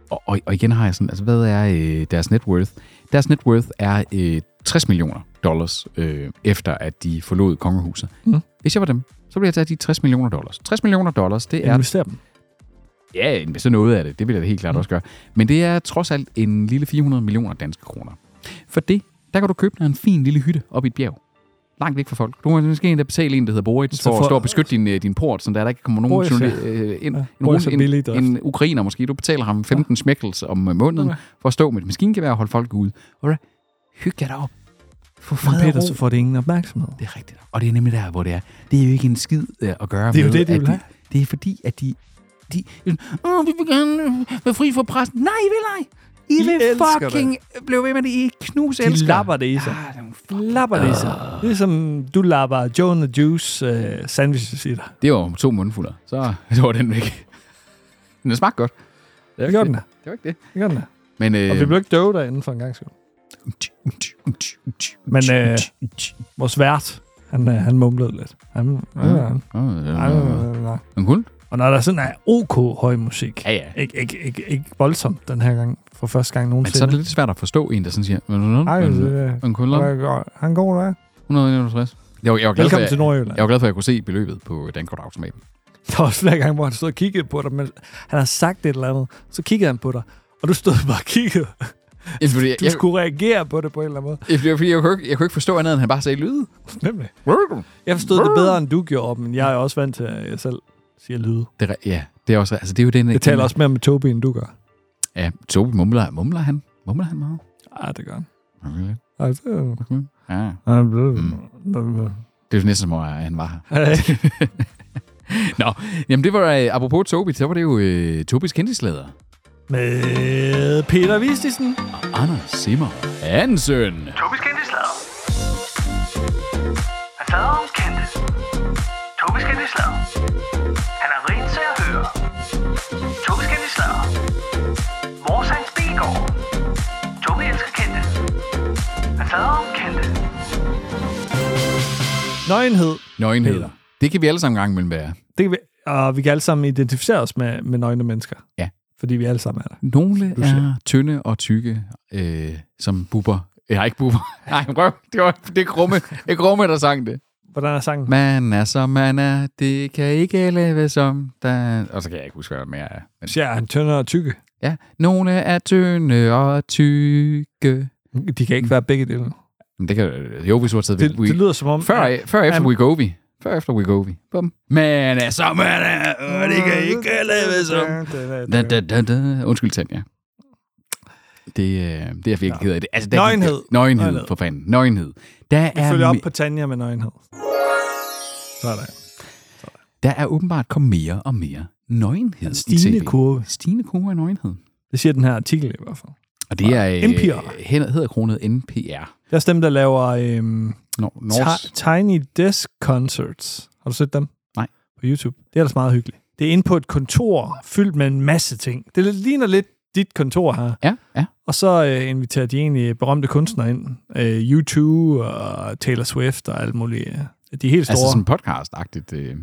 S3: og, og, og igen har jeg sådan, altså hvad er øh, deres net worth? Deres net worth er øh, 60 millioner dollars, øh, efter at de forlod kongehuset.
S1: Mm.
S3: Mm. Hvis jeg var dem, så ville jeg tage de 60 millioner dollars. 60 millioner dollars, det
S1: Ja.
S3: er...
S1: Invester dem.
S3: Ja, investere noget af det, det vil jeg da helt klart
S1: Mm.
S3: også gøre. Men det er trods alt en lille 400 millioner danske kroner. For det, der kan du købe dig en fin lille hytte op i et bjerg. Langt væk fra folk. Du må måske endda betale en, der hedder Boris,
S1: Så
S3: for,
S1: for-
S3: at stå og beskytte din, øh, din port, så der, der ikke kommer nogen
S1: Boris,
S3: Boris,
S1: ja.
S3: øh, ind.
S1: Ja,
S3: en,
S1: Boris er
S3: en,
S1: billig i
S3: en,
S1: drift.
S3: en ukrainer måske. Du betaler ham 15 smækkels om øh, måneden for at stå med et maskingevær og holde folk ude. Alright. Hyg jer derop. Få
S1: Men
S3: fred
S1: Peter, så
S3: og ro.
S1: får det ingen opmærksomhed.
S3: Det er rigtigt. Og det er nemlig der, hvor det er. Det er jo ikke en skid øh, at gøre
S1: Det er jo
S3: med,
S1: det, de
S3: at
S1: vil have.
S3: Det er fordi, at de... de Åh, vi vil gerne øh, være fri fra pressen. Nej, I vil ej. I,
S1: I
S3: I vil
S1: elsker det.
S3: fucking det. blive ved med det. I knus
S1: De
S3: elsker.
S1: lapper det i sig.
S3: Ah, det er nogle f-
S1: Lapper det i sig. Ligesom du lapper Joe and the Juice øh, sandwiches i dig.
S3: det var to mundfulder. Så, så var den væk. Den smagte godt. Det
S1: Det gjorde den da.
S3: Det var ikke det.
S1: Det gjorde den da.
S3: Men, øh,
S1: Og vi blev ikke døve derinde for en gang skyld. Men øh, vores vært, han, øh, han mumlede lidt.
S3: Mm.
S1: Han, ja. Ja, ja, ja, ja.
S3: En hund?
S1: Og når der sådan er OK høj musik,
S3: Ja, ja.
S1: ikke, ikke, ikke, ikke voldsomt den her gang, for første gang
S3: Men så er
S1: nogensinde.
S3: det lidt svært at forstå en, der sådan siger...
S1: Ej, det er-
S3: En kunde?
S1: lidt... Han går der.
S3: altså, 161. Jeg var, jeg var glad for,
S1: Velkommen
S3: at,
S1: til Nordjylland.
S3: jeg var glad for, at jeg kunne se beløbet på dankortautomaten.
S1: Der var også flere gange, hvor han stod og kiggede på dig, men han har sagt et eller andet, så kiggede han på dig, og du stod bare og kiggede.
S3: Ja, fordi jeg,
S1: Du
S3: jeg,
S1: skulle reagere på det på en eller anden måde.
S3: jeg, jeg, fordi jeg, kunne, ikke, jeg kunne ikke forstå andet, end han bare sagde lyde.
S1: Nemlig. Jeg forstod det bedre, end du gjorde, men jeg er også vant til, at jeg selv siger lyde.
S3: Det, er re- ja, det er også... Altså, det er jo den...
S1: Jeg taler også mere med Tobi, end du gør.
S3: Ja, Tobi mumler, mumler han. Mumler han meget?
S1: Ah, det gør han.
S3: Okay.
S1: Altså,
S3: Ja,
S1: han blev... Mm.
S3: det er jo næsten som om, at han var her. Nå, jamen det var... øh, Apropos Tobi, så var det jo øh, Tobis kendtislader.
S1: Med Peter Vistisen.
S3: Anders Simmer Hansen.
S8: Tobis kendte slader. Han slader om kendte. Tobis kendte slader. Han er rigt til at høre. Tobis kendte slader. Vores hans bilgård. Tobi elsker kendte. Han slader om kendte.
S1: Nøgenhed.
S3: Nøgenheder. Det kan vi alle sammen en gang imellem være.
S1: Det kan vi, og vi kan alle sammen identificere os med, med nøgne mennesker.
S3: Ja.
S1: Fordi vi alle sammen er der.
S3: Nogle
S1: siger.
S3: er tynde og tykke, øh, som buber. Ja, ikke buber. Nej, røv. Det var det er krumme, det er krumme, der sang det.
S1: Hvordan er sangen?
S3: Man er som man er, det kan ikke leve som der... Og så kan jeg ikke huske, hvad der mere er. Men
S1: Ja, han tyndere og tykke.
S3: Ja, nogle er tynde og tykke.
S1: De kan ikke være begge dele.
S3: Men det kan, jo, hvis du har taget
S1: Det,
S3: We-
S1: det lyder som om...
S3: Før,
S1: at-
S3: før efter
S1: Am-
S3: We Go Vi. Før efter We Go Vi. Bum. Men øh, så man er, øh, det kan ikke leve som. Da, da, da, da. Undskyld, Tanja. Det, øh, det er jeg virkelig ked af. Det, altså, der,
S1: Nøgenhed.
S3: Nøgenhed,
S1: Nøgenhed.
S3: for fanden. Nøgenhed. Der
S1: Vi følger
S3: er,
S1: op
S3: me-
S1: på Tanja med nøgenhed. Sådan.
S3: der er åbenbart kommet mere og mere nøgenhed i
S1: Stigende
S3: TV.
S1: kurve.
S3: Stigende kurve af nøgenhed.
S1: Det siger den her artikel i hvert fald.
S3: Og det er... øh,
S1: NPR.
S3: hen- hedder kronet NPR.
S1: Der er dem, der laver øhm,
S3: Nor-
S1: ti-
S3: Nords.
S1: Tiny Desk Concerts. Har du set dem?
S3: Nej.
S1: På YouTube. Det er ellers meget hyggeligt. Det er inde på et kontor fyldt med en masse ting. Det ligner lidt dit kontor her.
S3: Ja, ja.
S1: Og så øh, inviterer de egentlig berømte kunstnere ind. Øh, U2 og Taylor Swift og alt muligt. øh. De er helt store.
S3: Altså sådan podcast-agtigt. Øh.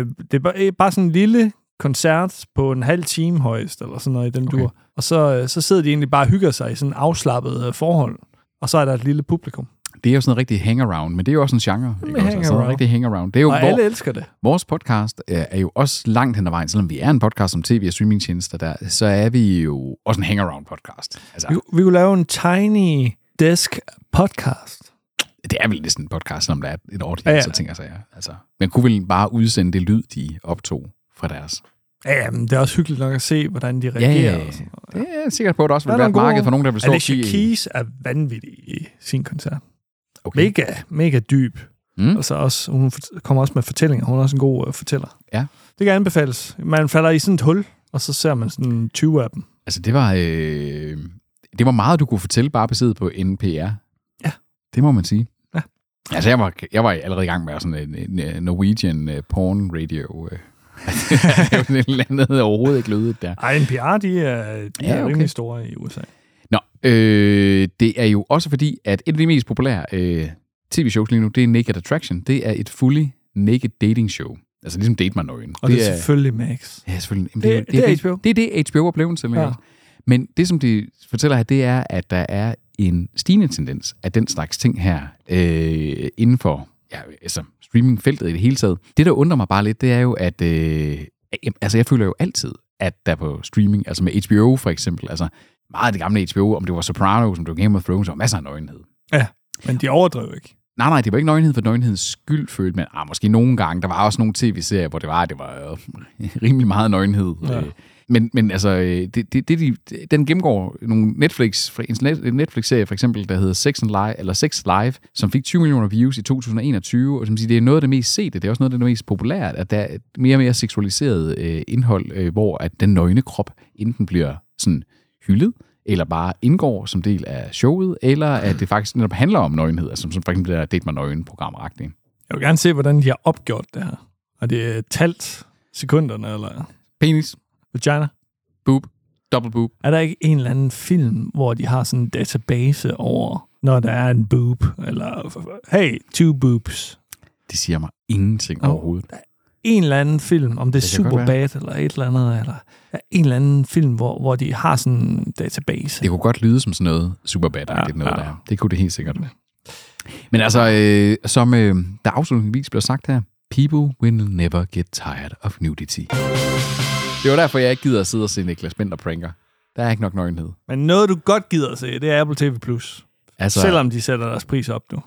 S1: Øh, det er bare, øh, bare sådan en lille koncert på en halv time højst, eller sådan noget i den
S3: Okay.
S1: okay. dur. Og så, øh, så sidder de egentlig bare og hygger sig i sådan afslappet øh, forhold. Og så er der et lille publikum.
S3: Det er jo sådan en rigtig hangaround, men det er jo også en genre. Ikke også? Altså, sådan en
S1: hangaround.
S3: rigtig hangaround. Det er jo,
S1: Og
S3: hvor,
S1: alle elsker det.
S3: Vores podcast øh, er jo også langt hen ad vejen, selvom vi er en podcast om tv og streamingtjenester, der, så er vi jo også en hangaround podcast. Altså,
S1: Vi, kunne- vi kunne lave en tiny desk podcast.
S3: det er vel lidt sådan en podcast, selvom der er et audience,
S1: Ja,
S3: ja,
S1: ja.
S3: ja. så tænker jeg. så, ja, Altså, man kunne vel bare udsende det lyd, de optog fra deres.
S1: Ja, jamen, det er også hyggeligt nok at se, hvordan de reagerer. Ja, ja, ja.
S3: Det er jeg sikker på, at der også
S1: Der er
S3: vil være
S1: nogle
S3: et
S1: gode-
S3: marked for nogen, der vil stå og
S1: Alicia
S3: kigge. i-
S1: Keys er vanvittig i sin koncert.
S3: Okay.
S1: Mega, mega dyb.
S3: Mm.
S1: Altså også, hun fort- kommer også med fortællinger. Hun er også en god uh, fortæller.
S3: Ja.
S1: Det kan anbefales. Man falder i sådan et hul, og så ser man sådan 20 af dem.
S3: Altså, det var, øh, det var meget, du kunne fortælle bare baseret på NPR.
S1: Ja.
S3: Det må man sige.
S1: Ja.
S3: Altså, jeg var, jeg var allerede i gang med sådan en, en, øh, Norwegian øh, porn radio. øh. det var sådan et eller andet der overhovedet ikke lødet der.
S1: Ej, NPR, de er, de ja,
S3: Ja,
S1: er
S3: okay.
S1: rimelig store i USA.
S3: Nå, øh, det er jo også fordi, at et af de mest populære øh, tv-shows lige nu, det er Naked Attraction. Det er et fully naked dating show. Altså ligesom Date mig nøgen.
S1: Og det, det er selvfølgelig Max.
S3: Ja, selvfølgelig. Jamen,
S1: Det- det er HBO.
S3: Det er det, HBO er blevet til.
S1: Ja.
S3: Ja. Men det, som de fortæller her, det er, at der er en stigende tendens af den slags ting her øh, inden for ja, altså, streamingfeltet i det hele taget. Det, der undrer mig bare lidt, det er jo, at øh, jamen, altså, jeg føler jo altid, at der på streaming, altså med HBO for eksempel, altså meget af det gamle HBO, om det var Sopranos, om det var Game of Thrones, og masser af nøgenhed.
S1: Men de overdriver ikke.
S3: Nej, nej, det var ikke nøgenhed for nøgenhedens skyld, følte man. Ah, måske nogle gange. Der var også nogle tv-serier, hvor det var, det var øh, rimelig meget nøgenhed.
S1: Ja.
S3: Ja. Men, men altså, øh, det, det, det, de, den gennemgår nogle Netflix, fra- en net- en Netflix-serie for eksempel, der hedder Sex, and Live, eller Sex Live, som fik 20 millioner views i 2021, og som siger, det er noget af det mest sete, det er også noget af det mest populært, at der er mere og mere seksualiseret øh, indhold, øh, hvor at den nøgne krop enten bliver sådan hyldet, eller bare indgår som del af showet, eller at det faktisk netop handler om nøgenhed, altså som, som for eksempel det der Date mig nøgen program -agtigt.
S1: Jeg vil gerne se, hvordan de har opgjort det her. Og det er talt sekunderne, eller
S3: Penis,
S1: vagina.
S3: boob, double boob.
S1: Er der ikke en eller anden film, hvor de har sådan en database over, når der er en boob, eller hey, two boobs.
S3: Det siger mig ingenting
S1: Åh.
S3: oh. overhovedet.
S1: En eller anden film, om det, er
S3: Det kan godt
S1: Superbad eller et eller andet, eller ja, en eller anden film, hvor, hvor de har sådan en database.
S3: Det kunne godt lyde som sådan noget superbad ja,
S1: Ja,
S3: noget
S1: ja.
S3: ja. der. Det kunne det helt sikkert. Men altså, øh, som øh, der afslutningsvis bliver sagt her, people will never get tired of nudity. Det var derfor, jeg ikke gider at sidde og se Niklas Bender pranker. Der er ikke nok nøgenhed.
S1: Men noget, du godt gider at se, det er Apple TV+. Plus.
S3: Altså,
S1: Selvom de sætter deres pris op nu.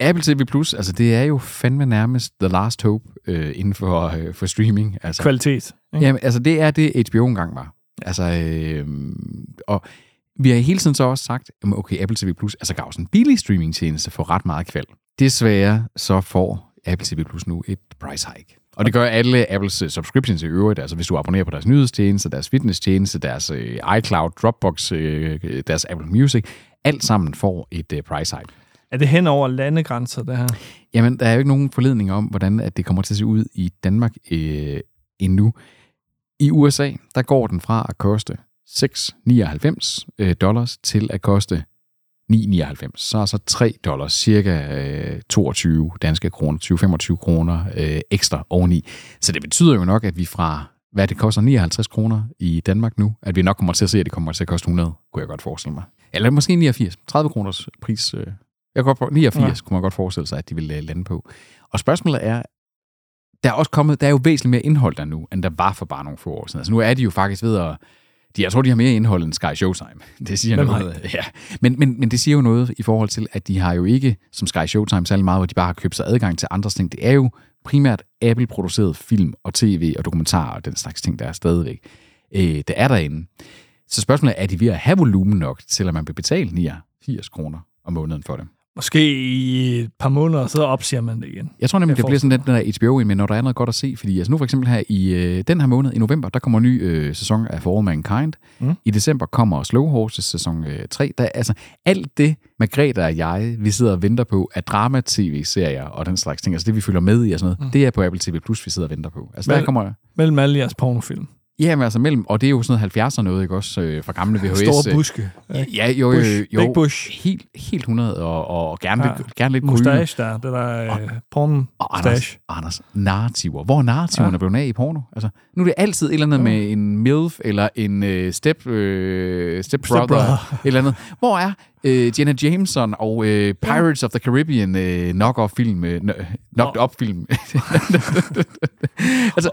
S3: Apple TV Plus, altså det er jo fandme nærmest the last hope øh, inden for, øh, for streaming. Altså,
S1: Kvalitet. ikke?
S3: Jamen, altså det er det, HBO engang var. Altså, øh, og vi har hele tiden så også sagt, jamen, okay, Apple TV Plus, altså gav sådan en billig streamingtjeneste for ret meget kval. Desværre så får Apple TV Plus nu et price hike. Og det gør alle Apples øh, subscriptions i øvrigt, altså hvis du abonnerer på deres nyhedstjeneste, deres fitnesstjeneste, deres øh, iCloud, Dropbox, øh, øh, deres Apple Music, alt sammen får et øh, price hike.
S1: Er det hen over landegrænser, det her?
S3: Jamen, der er jo ikke nogen forledning om, hvordan at det kommer til at se ud i Danmark øh, endnu. I USA, der går den fra at koste 6,99 øh, dollars til at koste 9,99. Så er så 3 dollars, cirka øh, 22 danske kroner, 20-25 kroner øh, ekstra oveni. Så det betyder jo nok, at vi fra, hvad det koster, 59 kroner i Danmark nu, at vi nok kommer til at se, at det kommer til at koste 100, kunne jeg godt forestille mig. Eller måske 89, 30 kroners pris. Øh. Jeg kunne godt, for- 89
S1: Ja.
S3: ja. kunne man godt forestille sig, at de ville øh, lande på. Og spørgsmålet er, der er også kommet, der er jo væsentligt mere indhold der nu, end der var for bare nogle få år siden. Altså nu er de jo faktisk ved at De, jeg tror, de har mere indhold end Sky Showtime. Det siger
S1: Hvem har
S3: noget. Ja. Men, men, men det siger jo noget i forhold til, at de har jo ikke, som Sky Showtime, særlig meget, hvor de bare har købt sig adgang til andres ting. Det er jo primært Apple-produceret film og tv og dokumentarer og den slags ting, der er stadigvæk. Øh, det er derinde. Så spørgsmålet er, er de ved at have volumen nok, til at man vil betale 89 kroner om måneden for det?
S1: Måske i et par måneder, så opsiger man det igen.
S3: Jeg tror
S1: Jeg
S3: nemlig, det bliver sådan
S1: forestiller
S3: den, den der HBO men når der er noget godt at se. Fordi altså nu for eksempel her i øh, den her måned, i november, der kommer en ny øh, sæson af For All Mankind. Mm. I december kommer Slow Horses sæson øh, 3. Der, er altså alt det, Margrethe og jeg, vi sidder og venter på, af drama-tv-serier og den slags ting, altså det vi følger med i og sådan noget, mm. det er på Apple TV+, Plus, vi sidder og venter på. Altså
S1: Hvad-
S3: der kommer...
S1: Mellem alle jeres pornofilm.
S3: Ja, men altså mellem, og det er jo sådan noget 70'er noget, ikke også, øh, fra gamle VHS.
S1: Store
S3: øh,
S1: buske.
S3: Ja, jo, jo,
S1: Bush.
S3: jo, jo
S1: Big Bush.
S3: Helt, helt 100, og, og gerne,
S1: Ja.
S3: lidt, gerne lidt gryden.
S1: Mustache der, det der øh, porn
S3: Og Anders, Anders, narrativer. Hvor er narrativerne ja. blevet af i porno? Altså, nu er det altid et eller andet ja. med en MILF eller en øh, step, øh, step, brother,
S1: Brother.
S3: et eller andet. Hvor er øh, Jenna Jameson og øh, Pirates ja. of the Caribbean øh, knock-off-film? Øh, knock-up-film? altså,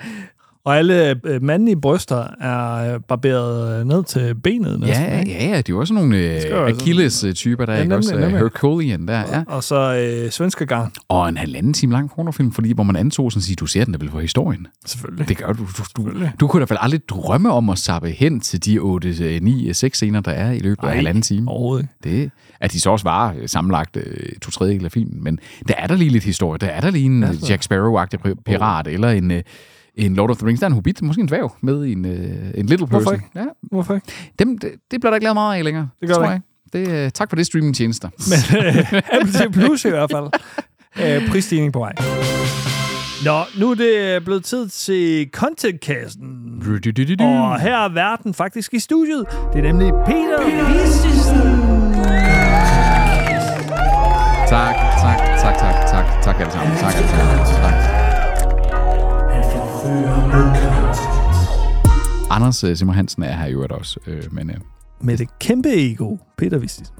S1: Og alle øh, mandlige bryster er øh, barberet øh, ned til benet næsten.
S3: ja,
S1: ikke?
S3: ja, ja, det er jo også nogle
S1: skal
S3: øh,
S1: jo altså-
S3: Achilles-typer, der ja,
S1: Ja,
S3: er ikke
S1: nemlig,
S3: også?
S1: nemlig.
S3: Nemlig. Herculean der, ja.
S1: Og så øh, svenskegang,
S3: Og en halvanden time lang pornofilm, fordi, hvor man antog sådan at sige, du ser den da vel for historien.
S1: selvfølgelig.
S3: Det gør du. Du, du, du kunne i hvert fald aldrig drømme om at sappe hen til de øh, 8, 9, 6 scener, der er i løbet af
S1: Ej,
S3: en halvanden time.
S1: Overhovedet ikke.
S3: Det, at de så også var øh, sammenlagt øh, to tredjedel af filmen. Men der er der lige lidt historie. Der er der lige en altså. Jack Sparrow-agtig pri- pirat, eller en, øh, en Lord of the Rings. Der er en hobbit, måske en dværg, med en, øh, en little
S1: Hvorfor
S3: person.
S1: ikke?
S3: Ja,
S1: Hvorfor ikke?
S3: dem, det, det bliver der ikke lavet meget af længere.
S1: Det gør
S3: tror
S1: der
S3: jeg. Det, øh, tak for det, streamingtjenester.
S1: Apple TV Plus i hvert fald. Øh, prisstigning på vej. Nå, nu er det øh, blevet tid til contentkassen.
S3: Mm.
S1: Og her er verden faktisk i studiet. Det er nemlig Peter.
S3: Tak, tak, tak, tak, tak, tak alle sammen. Tak alle sammen. Tak. Anders øh, Simmer Hansen er her i øvrigt også, øh, men... Øh,
S1: Med det kæmpe ego, Peter Vistis.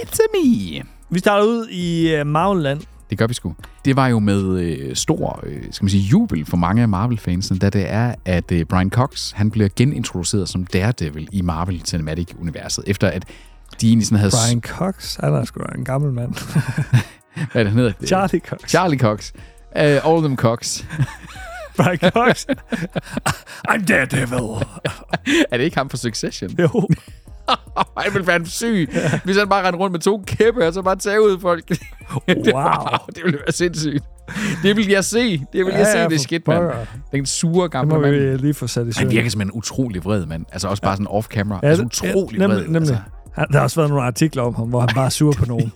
S3: It's me!
S1: Vi starter ud i øh, Magland.
S3: Det gør vi sgu. Det var jo med øh, stor øh, skal man sige, jubel for mange af Marvel-fansene, da det er, at øh, Brian Cox han bliver genintroduceret som Daredevil i Marvel Cinematic-universet, efter at de egentlig sådan havde...
S1: Brian Cox, han er sgu da en gammel mand.
S3: Hvad er det, han hedder?
S1: Charlie Cox.
S3: Charlie Cox. Uh, all them Cox.
S1: Brian Cox. I'm Daredevil.
S3: er det ikke ham fra Succession?
S1: Jo.
S3: Han ville være syg, hvis han bare rendte rundt med to kæppe, og så bare tage ud folk.
S1: Wow.
S3: det ville være sindssygt. Det vil jeg se. Det vil
S1: Ja,
S3: jeg se,
S1: ja,
S3: det
S1: for
S3: shit, mand.
S1: pokker.
S3: Den sure
S1: Det
S3: gamle
S1: må
S3: mand.
S1: vi lige få sat i søen.
S3: Han virker som en utrolig vred mand. Altså også bare sådan off-camera. Ja,
S1: Ja,
S3: altså
S1: det-
S3: utrolig
S1: ja,
S3: vred.
S1: nemlig, nemlig.
S3: Altså,
S1: Han- Der har også været nogle artikler om ham, hvor han bare er sur på nogen.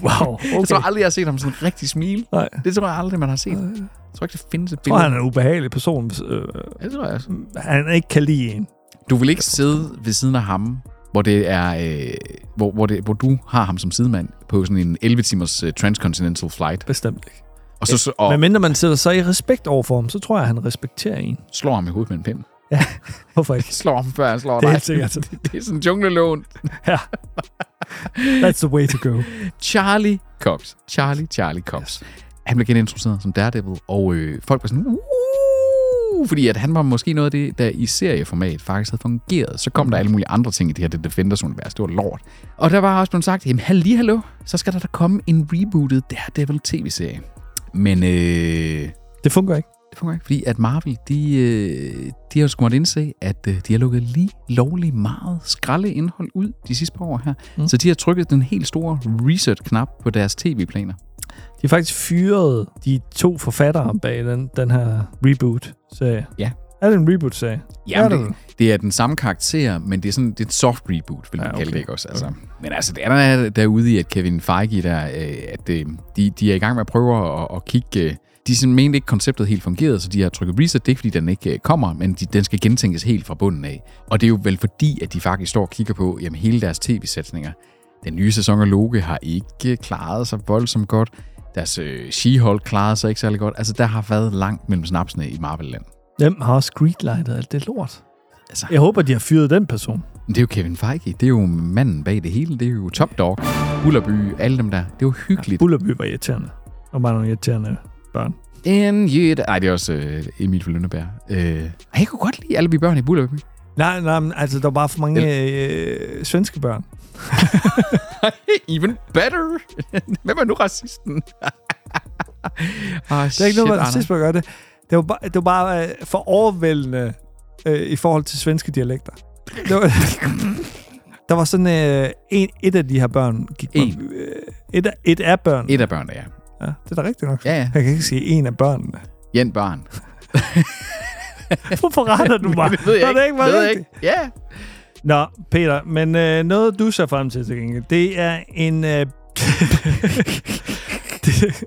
S1: wow,
S3: Jeg
S1: okay.
S3: tror aldrig, jeg har set ham sådan rigtig smile.
S1: Nej.
S3: Det tror jeg aldrig, man har set. Jeg tror ikke, det findes et
S1: Jeg Øh. tror,
S3: billede.
S1: han er en ubehagelig person. hvis, Øh,
S3: Ja, det tror jeg også.
S1: han ikke kan lide en.
S3: Du vil ikke sidde ved siden af ham, hvor det er, øh, hvor, hvor, det, hvor du har ham som sidemand på sådan en 11-timers øh, transcontinental flight.
S1: Bestemt ikke.
S3: Og så, så
S1: Men
S3: og
S1: mindre man sætter sig i respekt over for ham, så tror jeg, han respekterer en.
S3: slår ham i hovedet med en pind.
S1: Hvorfor ikke?
S3: Slår ham, før han slår
S1: Det
S3: dig.
S1: er helt sikkert.
S3: det er sådan en junglelån.
S1: That's the way to go.
S3: Charlie Cox. Charlie, Charlie Cox. Yes. Han blev genintroduceret som Daredevil, og øh, folk var sådan, uh, fordi at han var måske noget af det, der i serieformat faktisk havde fungeret. Så kom der alle mulige andre ting i det her The Defenders-univers. Det var lort. Og der var også blevet sagt, jamen halli, hallo, så skal der da komme en rebootet Daredevil tv-serie. Men øh,
S1: Det fungerer ikke.
S3: det fungerer ikke, fordi at Marvel, de, øh, de har jo sgu måttet indse, at øh, de har lukket lige lovlig meget skralde indhold ud de sidste par år her. Mm. Så de har trykket den helt store reset-knap på deres tv-planer.
S1: De har faktisk fyret de to forfattere bag den, den her reboot-serie.
S3: Ja.
S1: Er det en reboot-serie?
S3: Jamen,
S1: er
S3: det, det er den samme karakter, men det er sådan det er et soft reboot, vil man ja,
S1: Ja,
S3: okay. kalde det,
S1: okay.
S3: ikke også? Altså, okay. Men altså, det er der derude i, at Kevin Feige, der, øh, at øh, de, de er i gang med at prøve at, at kigge... øh, De sådan mente ikke, konceptet helt fungerede, så de har trykket reset. Det er ikke, fordi den ikke øh, kommer, men de, den skal gentænkes helt fra bunden af. Og det er jo vel fordi, at de faktisk står og kigger på jamen, hele deres tv-sætninger. Den nye sæson af Loke har ikke øh, klaret sig voldsomt godt. Deres øh, She-Hulk klarede sig ikke særlig godt. Altså, der har været langt mellem snapsene i Marvel-land.
S1: Hvem har også greenlightet alt det lort?
S3: Altså.
S1: Jeg håber, de har fyret den person.
S3: Men Det er jo Kevin Feige. Det er jo manden bag det hele. Det er jo Top Dog, Bullerby, alle dem der. Det er jo hyggeligt.
S1: Bullerby var irriterende. Og bare nogle irriterende børn.
S3: And yet... Ej, det er også øh, Emil for Lønneberg. Øh, ej, jeg kunne godt lide alle vi børn i Bullerby.
S1: Nej, nej, men altså, der var bare for mange øh, svenske børn.
S3: Even better. Hvem er nu racisten? ah,
S1: Det er ikke noget, man racisme gør det. Det var bare, det var bare øh, for overvældende øh, i forhold til svenske dialekter. Det var, der var sådan øh, en, et af de her børn. Gik på,
S3: En.
S1: øh, et, af, et af børn.
S3: Et af børnene, ja.
S1: Ja, det er da rigtigt nok.
S3: Ja, ja.
S1: Jeg kan ikke sige en af børnene.
S3: Jen barn.
S1: Hvorfor retter du mig?
S3: Det ved jeg
S1: Var
S3: ikke.
S1: Det ikke, var
S3: Det ved jeg
S1: rigtigt?
S3: ikke. Ja.
S1: Nå, Peter, men øh, noget du ser frem til til gengæld, det er en... Øh, det,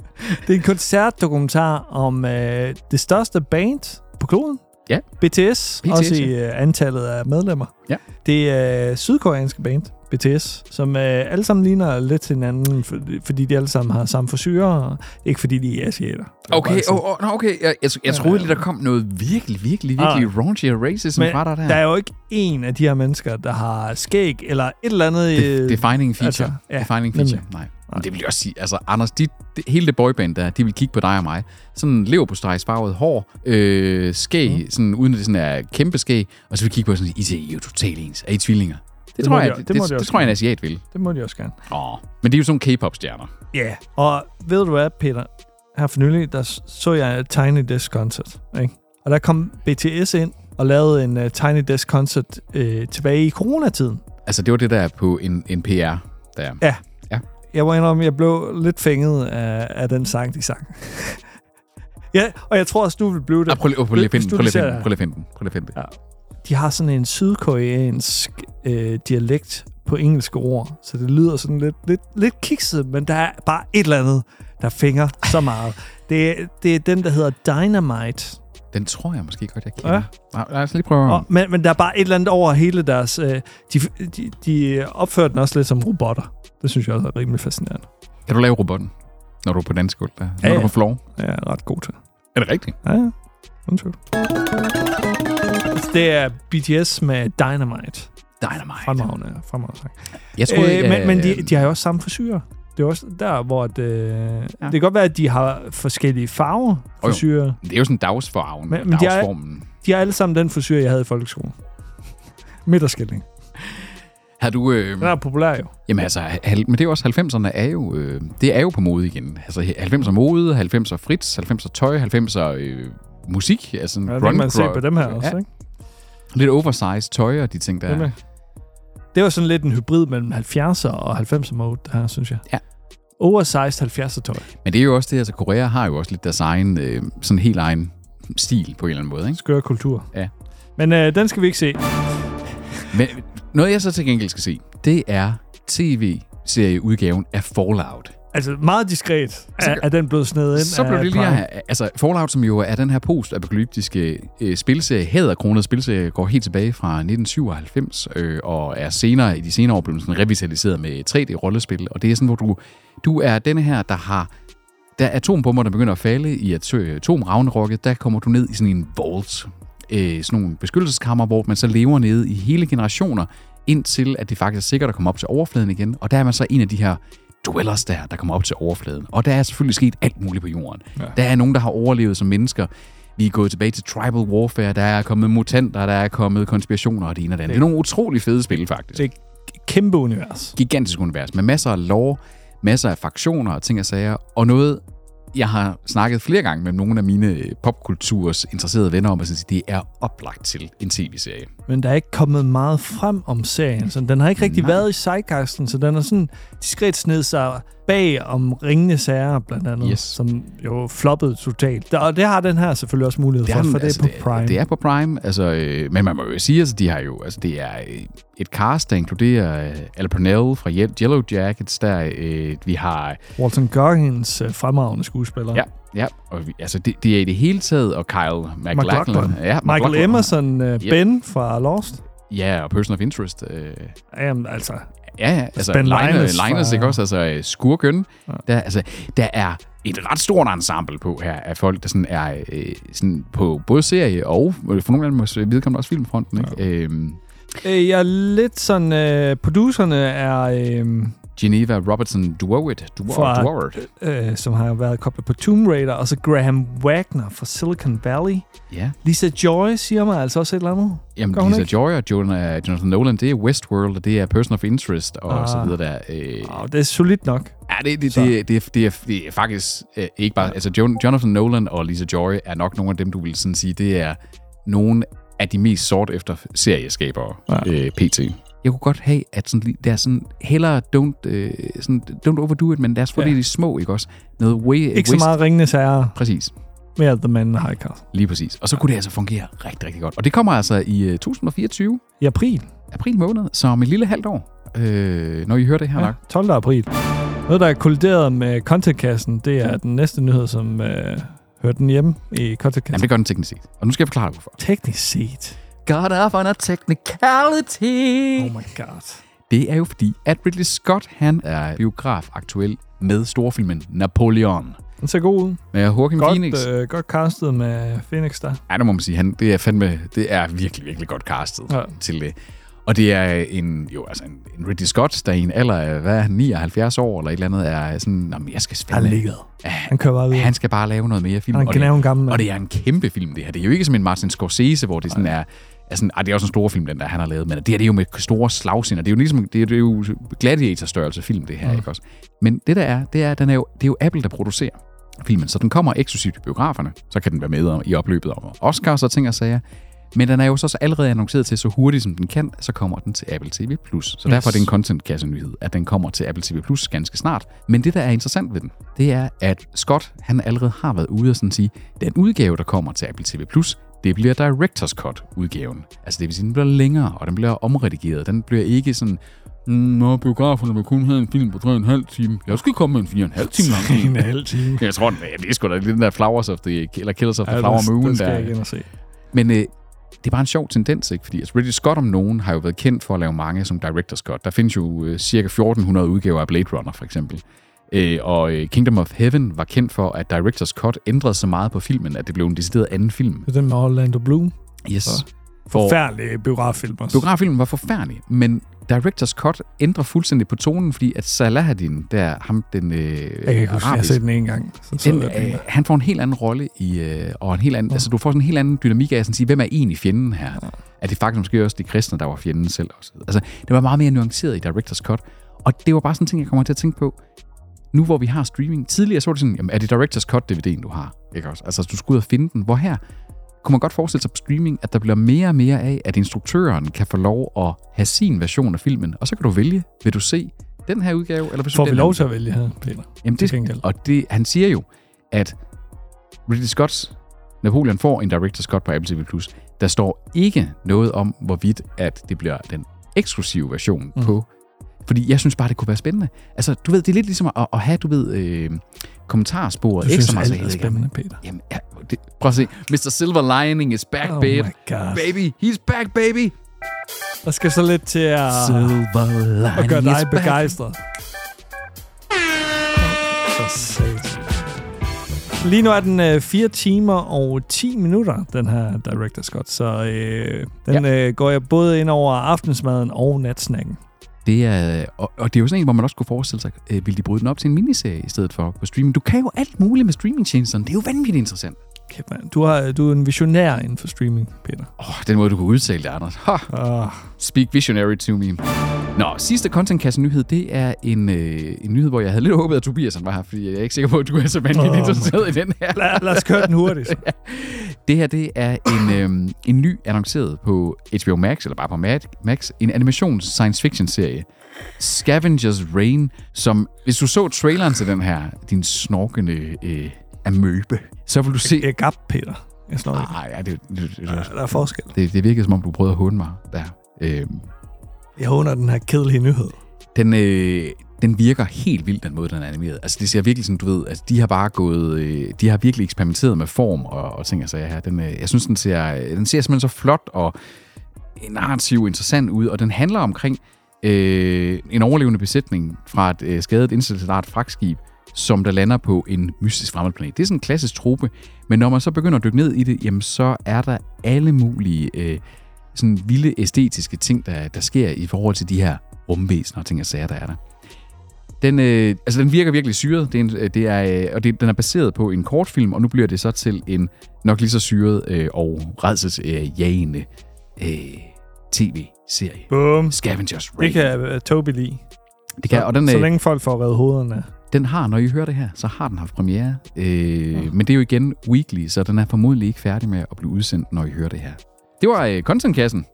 S1: det er en koncertdokumentar om øh, det største band på kloden.
S3: Ja.
S1: BTS,
S3: BTS,
S1: også i
S3: ja.
S1: øh, antallet af medlemmer.
S3: Ja.
S1: Det er øh, sydkoreanske band, BTS, som øh, alle sammen ligner lidt hinanden, for, fordi de alle sammen har samme forsyre, ikke fordi de er asiater. Det var
S3: Okay,
S1: bare
S3: oh,
S1: sådan.
S3: oh, no, okay. Jeg, jeg, jeg troede lige, der kom noget virkelig, virkelig, virkelig ah. raunchy og racism
S1: Men
S3: fra dig der.
S1: der er jo ikke en af de her mennesker, der har skæg eller et eller andet...
S3: De-
S1: øh,
S3: Defining feature.
S1: altså,
S3: Altså,
S1: ja,
S3: ja, Defining feature.
S1: nemlig.
S3: Nej. Men det vil jeg også sige. Altså, Anders, de, de, hele det boyband der, de vil kigge på dig og mig. Sådan lever på farvet hår, øh, skæg, mm. sådan, uden at det sådan er kæmpe skæg. Og så vil de kigge på os og sige, I ser I er jo totalt ens. Er I tvillinger? Det,
S1: Det
S3: det tror
S1: må
S3: jeg,
S1: de-
S3: det,
S1: det
S3: det,
S1: må
S3: det,
S1: de
S3: det
S1: også
S3: tror jeg, en
S1: gerne.
S3: asiat vil.
S1: Det må de også gerne.
S3: Åh. Men det er jo sådan K-pop-stjerner.
S1: Ja, yeah. og ved du hvad, Peter? Her for nylig, der s- så jeg Tiny Desk Concert, ikke? Og der kom BTS ind og lavede en uh, Tiny Desk Concert øh, tilbage i coronatiden.
S3: Altså, det var det der på en, en PR. Der. Ah,
S1: Ja.
S3: Ja.
S1: Jeg må indrømme, jeg blev lidt fænget af, af den sang, de sang. ja, og jeg tror også, du vil blive det.
S3: Ah, prøv lige- prøv lige at
S1: Hvis du
S3: finde den. Prøv lige
S1: ser
S3: at
S1: det.
S3: finde den. Prøv lige at finde den. Prøv lige at finde den.
S1: De har sådan en sydkoreansk øh, dialekt på engelske ord, så det lyder sådan lidt, lidt, lidt kikset, men der er bare et eller andet, der fænger så meget. Det, er- det er den, der hedder Dynamite.
S3: Den tror jeg måske godt, jeg
S1: Ja.
S3: kender. Ja. Lad os lige prøve.
S1: Og, men, men der er bare et eller andet over hele deres... Øh, de, de, de opfører den også lidt som robotter. Det synes jeg også er rimelig fascinerende.
S3: Kan du lave robotten, når du er på dansk gulv? Ja,
S1: Ja,
S3: Når du
S1: ja.
S3: er på floor?
S1: Jeg er ret god til.
S3: Er det rigtigt?
S1: Ja, ja. Undskyld. Det er BTS med Dynamite.
S3: Dynamite.
S1: Fremragende, fremragende sang.
S3: Jeg tror,
S1: Øh, men, men de,
S3: øh,
S1: de har jo også samme frisyrer. Det er også der, hvor det, ja. det
S3: Ja.
S1: kan godt være, at de har forskellige farver,
S3: jo.
S1: frisyrer.
S3: Det er jo sådan dagsfarven,
S1: Men-
S3: men,
S1: men de er-
S3: dagsformen. Er...
S1: De har alle sammen den frisyr, jeg havde i folkeskolen. Midterskilling.
S3: Mm. Har du... Øh,
S1: Den er populær jo.
S3: jamen altså, hal- men det er jo også 90'erne er jo... Øh, det er jo på mode igen. Altså 90'er mode, 90'er frit, 90'er tøj, 90'er øh, musik. Altså
S1: Ja, det kan man se på dem her også, ikke?
S3: Lidt oversized tøj og de ting, der...
S1: Nemlig. Det var sådan lidt en hybrid mellem 70'er og 90'er mode, det her, synes jeg.
S3: Ja.
S1: Oversized 70'er tøj.
S3: Men det er jo også det, altså Korea har jo også lidt deres egen, øh, sådan helt egen stil på en eller anden måde, ikke?
S1: Skør kultur.
S3: Ja.
S1: Men øh, den skal vi ikke se.
S3: Men noget, jeg så til gengæld skal se, det er tv-serieudgaven af Fallout.
S1: Altså meget diskret er, er den blevet snedet ind.
S3: Så blev
S1: af
S3: det lige
S1: Prime.
S3: her. Altså, Fallout, som jo er den her post-apokalyptiske øh, spilserie, hæderkronet spilserie, går helt tilbage fra 1997, øh, og er senere i de senere år blevet sådan revitaliseret med 3D-rollespil. Og det er sådan, hvor du, du er den her, der har da atombomber, der begynder at falde i at øh, atomravnerokket, der kommer du ned i sådan en vault. Øh, sådan nogle beskyttelseskammer, hvor man så lever nede i hele generationer, indtil at det faktisk er sikkert at komme op til overfladen igen. Og der er man så en af de her dwellers der, der kommer op til overfladen. Og der er selvfølgelig sket alt muligt på jorden. Ja. Der er nogen, der har overlevet som mennesker. Vi er gået tilbage til tribal warfare, der er kommet mutanter, der er kommet konspirationer og det ene og det andet. Det er nogle utrolig fede spil, faktisk
S1: Det er et kæmpe univers.
S3: gigantisk univers med masser af lore, masser af fraktioner og ting og sager, og noget, jeg har snakket flere gange med nogle af mine øh, popkulturs interesserede venner om, at synes, det er oplagt til en tv-serie.
S1: Men der er ikke kommet meget frem om serien. Så den har ikke rigtig Nej.
S3: Nej.
S1: været i sidecasten, så den er sådan diskret sned sig bag om ringende sager, blandt andet,
S3: Yes.
S1: som jo floppede totalt. Der- Og det har den her selvfølgelig også mulighed for, for det er på Prime.
S3: altså, Det, det er på Prime, altså, øh, men man må jo sige, altså, de har jo, altså, det er øh, et cast, der inkluderer øh, Al Pernell fra Ye- Yellow Jackets, der øh, vi har øh,
S1: Walton Goggins, øh, fremragende skuespiller.
S3: Ja, ja. Og vi, altså, det, det er i det hele taget, og Kyle MacLachlan.
S1: McLachlan.
S3: Ja,
S1: Michael
S3: McLachlan.
S1: Emerson, øh,
S3: Yep.
S1: Ben fra Lost.
S3: Ja, og Person of Interest. Øh,
S1: Jamen, altså,
S3: Ja, ja, altså
S1: Ben
S3: ben
S1: Linus
S3: Linus,
S1: fra-
S3: Linus ikke også? Altså øh, skurken. Der, altså, der er et ret stort ensemble på her af folk, der sådan er øh, sådan på både serie og øh, for nogle af dem også vedkommende også filmfronten. Ikke? Ja. Øhm,
S1: Øh, Jeg er lidt sådan... Øh, producerne er... Øh,
S3: Geneva Robertson Dwowit,
S1: Fra-
S3: Dwowit, Dwowit.
S1: øh, som har været koblet på Tomb Raider, og så Graham Wagner fra Silicon Valley.
S3: Ja.
S1: Lisa Joy siger mig altså også et eller andet.
S3: Jamen,
S1: Gør hun
S3: Lisa
S1: ikke?
S3: Joy og Jonah- Jonathan Nolan, det er Westworld, og det er Person of Interest, og
S1: Ah.
S3: så videre der. Øh,
S1: Oh, det er solidt nok.
S3: Ja, det, det,
S1: Så-
S3: det, det, er- det, er, det er faktisk øh, ikke bare... Altså, Jon, Jonathan Nolan og Lisa Joy er nok nogle af dem, du vil sådan sige, det er nogle af de mest sort efter serieskabere,
S1: Ja.
S3: ja. øh, pt. Jeg kunne godt have, at sådan, lige- der er sådan, hellere don't, øh, sådan, don't overdo it, men lad os få
S1: Ja.
S3: ja. det i de små, ikke også? Noget way,
S1: Ikke så meget ringende sager,
S3: Præcis,
S1: mere The Man in High Castle.
S3: lige præcis. Og så kunne det altså fungere rigtig, rigtig godt. Og det kommer altså i øh, 2024,
S1: I april.
S3: april måned, så om et lille halvt år, øh, når I hører det her ja.
S1: Ja,
S3: nok.
S1: 12. april. Noget, der er kollideret med contentkassen, det er den næste nyhed, som øh, hørte den hjemme i
S3: Jamen,
S1: contentkassen.
S3: det gør den teknisk set. Og nu skal jeg forklare dig, hvorfor.
S1: Teknisk set.
S3: Got off on a technicality.
S1: Oh my god.
S3: Det er jo fordi, at Ridley Scott, han er biograf aktuel med storfilmen Napoleon.
S1: Den ser god ud.
S3: Med Joaquin Phoenix.
S1: Godt, øh, godt castet med Phoenix der.
S3: Ja, det må man sige. Han, det er fandme, det er virkelig, virkelig godt castet
S1: Ja.
S3: ja. til det. Og det er en, jo, altså en, en Ridley Scott, der i en alder af, hvad er han, 79 år eller et eller andet, er sådan, Nå, men jeg skal
S1: Han
S3: spille.
S1: ligget. Han kører bare videre.
S3: Han skal bare lave noget mere film.
S1: Han
S3: og
S1: kan
S3: det-
S1: lave en gammel mand.
S3: Og det er en kæmpe film, det her. Det er jo ikke som en Martin Scorsese, hvor det sådan er... er sådan, ej, det er også en stor film, den der han har lavet, men det her det er jo med store slagsinder. Det er jo ligesom det er, det er jo gladiatorstørrelse film, det her, mm. ikke også? Men det der er, det er, at den er jo, det er jo Apple, der producerer filmen, så den kommer eksklusivt i biograferne. Så kan den være med i opløbet om Oscars og ting og sager. Men den er jo så også allerede annonceret til, så hurtigt som den kan, så kommer den til Apple TV+. Så yes. derfor er det en content-kasse-nyhed, at den kommer til Apple TV+, ganske snart. Men det, der er interessant ved den, det er, at Scott, han allerede har været ude og sådan sige, den udgave, der kommer til Apple TV+, det bliver Directors Cut-udgaven. Altså det vil sige, den bliver længere, og den bliver omredigeret. Den bliver ikke sådan, "Mm, Nå, biograferne vil kun have en film på 3,5 time. Jeg skal komme med en 4,5 time lang film.
S1: en halv time.
S3: Jeg tror, den- ja, det er sgu da lidt den der Flowers of the, eller Killers of the
S1: Ja,
S3: Flower
S1: den-
S3: Moon.
S1: den skal
S3: der.
S1: jeg ikke ind og se.
S3: Men øh, det er bare en sjov tendens, ikke? Fordi altså, Ridley Scott om nogen har jo været kendt for at lave mange som Director Scott. Der findes jo øh, cirka 1400 udgaver af Blade Runner, for eksempel. Øh, og øh, Kingdom of Heaven var kendt for, at Director's Cut ændrede så meget på filmen, at det blev en decideret anden film.
S1: Det er den med Orlando Bloom.
S3: Yes. For
S1: Forfærdelig biograffilm også.
S3: biograffilmen var forfærdelig, men Director's Cut ændrer fuldstændig på tonen, fordi at Salahaddin, der ham den øh,
S1: Jeg kan ikke huske, jeg har set den en gang. Så, så
S3: den,
S1: jeg den
S3: øh,
S1: der.
S3: han får en helt anden rolle i, øh, og en helt
S1: Mm.
S3: anden, altså du får sådan en helt anden dynamik af at sådan sige, hvem er egentlig fjenden her? Ja. Er det faktisk måske også de kristne, der var fjenden selv? Og så videre. altså, det var meget mere nuanceret i Directors Cut, og det var bare sådan en ting, jeg kommer til at tænke på, nu hvor vi har streaming. Tidligere så var det sådan, jamen, er det Directors Cut DVD'en, du har? Ikke også? Altså, du skulle ud og finde den. Hvor her kunne man godt forestille sig på streaming, at der bliver mere og mere af, at instruktøren kan få lov at have sin version af filmen, og så kan du vælge, vil du se den her udgave, eller vil du se
S1: Får
S3: den
S1: vi
S3: her
S1: lov til at vælge her, Peter?
S3: Jamen
S1: Til
S3: det,
S1: gengæld.
S3: og det, han siger jo, at Ridley Scotts Napoleon får en Director's Scott på Apple TV+. Plus. Der står ikke noget om, hvorvidt at det bliver den eksklusive version mm. på. Fordi jeg synes bare, det kunne være spændende. Altså, du ved, det er lidt ligesom at, at have, du ved, øh, kommentarsporet.
S1: Du synes, alt
S3: materiale,
S1: er
S3: ikke?
S1: spændende, Peter.
S3: Jamen, ja, det, prøv at se. Mr. Silver Lining is back,
S1: Oh
S3: babe.
S1: my God.
S3: Baby, he's back, baby.
S1: Der skal så lidt til at,
S3: Silver Lining
S1: at gøre
S3: is
S1: Ah. dig
S3: back.
S1: begejstret. For satan. Lige nu er den øh, 4 timer og 10 minutter, den her Director Scott, så øh, den øh, går jeg både ind over aftensmaden og natsnacken.
S3: Det er, og, og det er jo sådan en, hvor man også kunne forestille sig, øh, vil de bryde den op til en miniserie i stedet for på streaming? Du kan jo alt muligt med streamingtjenesterne. Det er jo vanvittigt interessant.
S1: Kæft, mand. Du, har, du er en visionær inden for streaming, Peter.
S3: Åh, oh, den måde, du kunne udtale det, Anders. Ha,
S1: Ah,
S3: speak visionary to me. Nå, sidste contentkasse-nyhed, det er en, øh, en nyhed, hvor jeg havde lidt håbet, at Tobias han var her, fordi jeg er ikke sikker på, at du er så vanvittigt
S1: Oh
S3: oh
S1: my
S3: interesseret i den her.
S1: lad, lad os køre den hurtigt.
S3: Det her, det er en, øh, en ny annonceret på HBO Max, eller bare på Mad- Max, en animations science fiction serie. Scavengers Reign, som hvis du så traileren til den her, din snorkende øh, amøbe, så vil du
S1: Jeg
S3: se...
S1: er gap, Peter. Jeg slår ikke.
S3: Nej, det, det, det,
S1: Der er forskel.
S3: det, det virkede som om, du prøvede at håne mig der. Øh,
S1: Jeg håner den her kedelige nyhed.
S3: den, øh, den virker helt vildt, den måde, den er animeret. Altså, det ser virkelig sådan, du ved, altså, de har bare gået, øh, de har virkelig eksperimenteret med form og, og ting og sager her. Den, øh, jeg synes, den ser, øh, den ser simpelthen så flot og narrativ interessant ud, og den handler omkring øh, en overlevende besætning fra et øh, skadet interstellart fragtskib, som der lander på en mystisk fremmed planet. Det er sådan en klassisk trope, men når man så begynder at dykke ned i det, jamen så er der alle mulige øh, sådan vilde æstetiske ting, der, der sker i forhold til de her rumvæsener og ting og sager, der er der. Den, øh, altså, den virker virkelig syret, det er en, øh, det er, øh, og det, den er baseret på en kortfilm, og nu bliver det så til en nok lige så syret øh, og redselsjagende øh, tv-serie.
S1: Boom.
S3: Scavengers
S1: Det
S3: Raid.
S1: kan uh, Toby lide.
S3: det kan og den,
S1: så
S3: øh,
S1: længe folk får reddet hovederne. af.
S3: den har, når I hører det her, så har den haft premiere. Øh, Men det er jo igen weekly, så den er formodentlig ikke færdig med at blive udsendt, når I hører det her. Det var øh, Contentkassen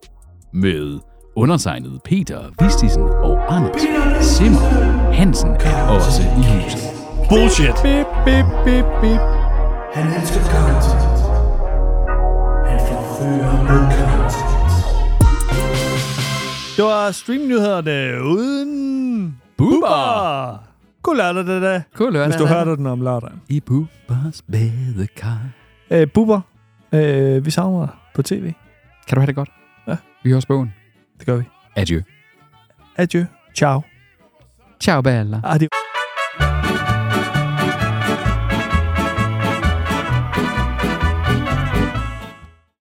S3: med undertegnet Peter Vistisen og Anders Simmer Hansen er også i huset.
S1: Bullshit. Bip, bip, bip, bip.
S9: Han elsker content. Han forfører med content.
S1: Det var streamnyhederne uden...
S3: Bubber!
S1: Uber. God lørdag, det da.
S3: Cool,
S1: Hvis du hørte den om lørdagen.
S3: I Bubbers badekar.
S1: Øh, Bubber, øh, vi savner dig på tv.
S3: Kan du have det godt?
S1: Ja.
S3: Vi hører bogen.
S1: Det gør vi.
S3: Adieu.
S1: Adieu. Ciao.
S3: Ciao, Bella.
S1: Adieu.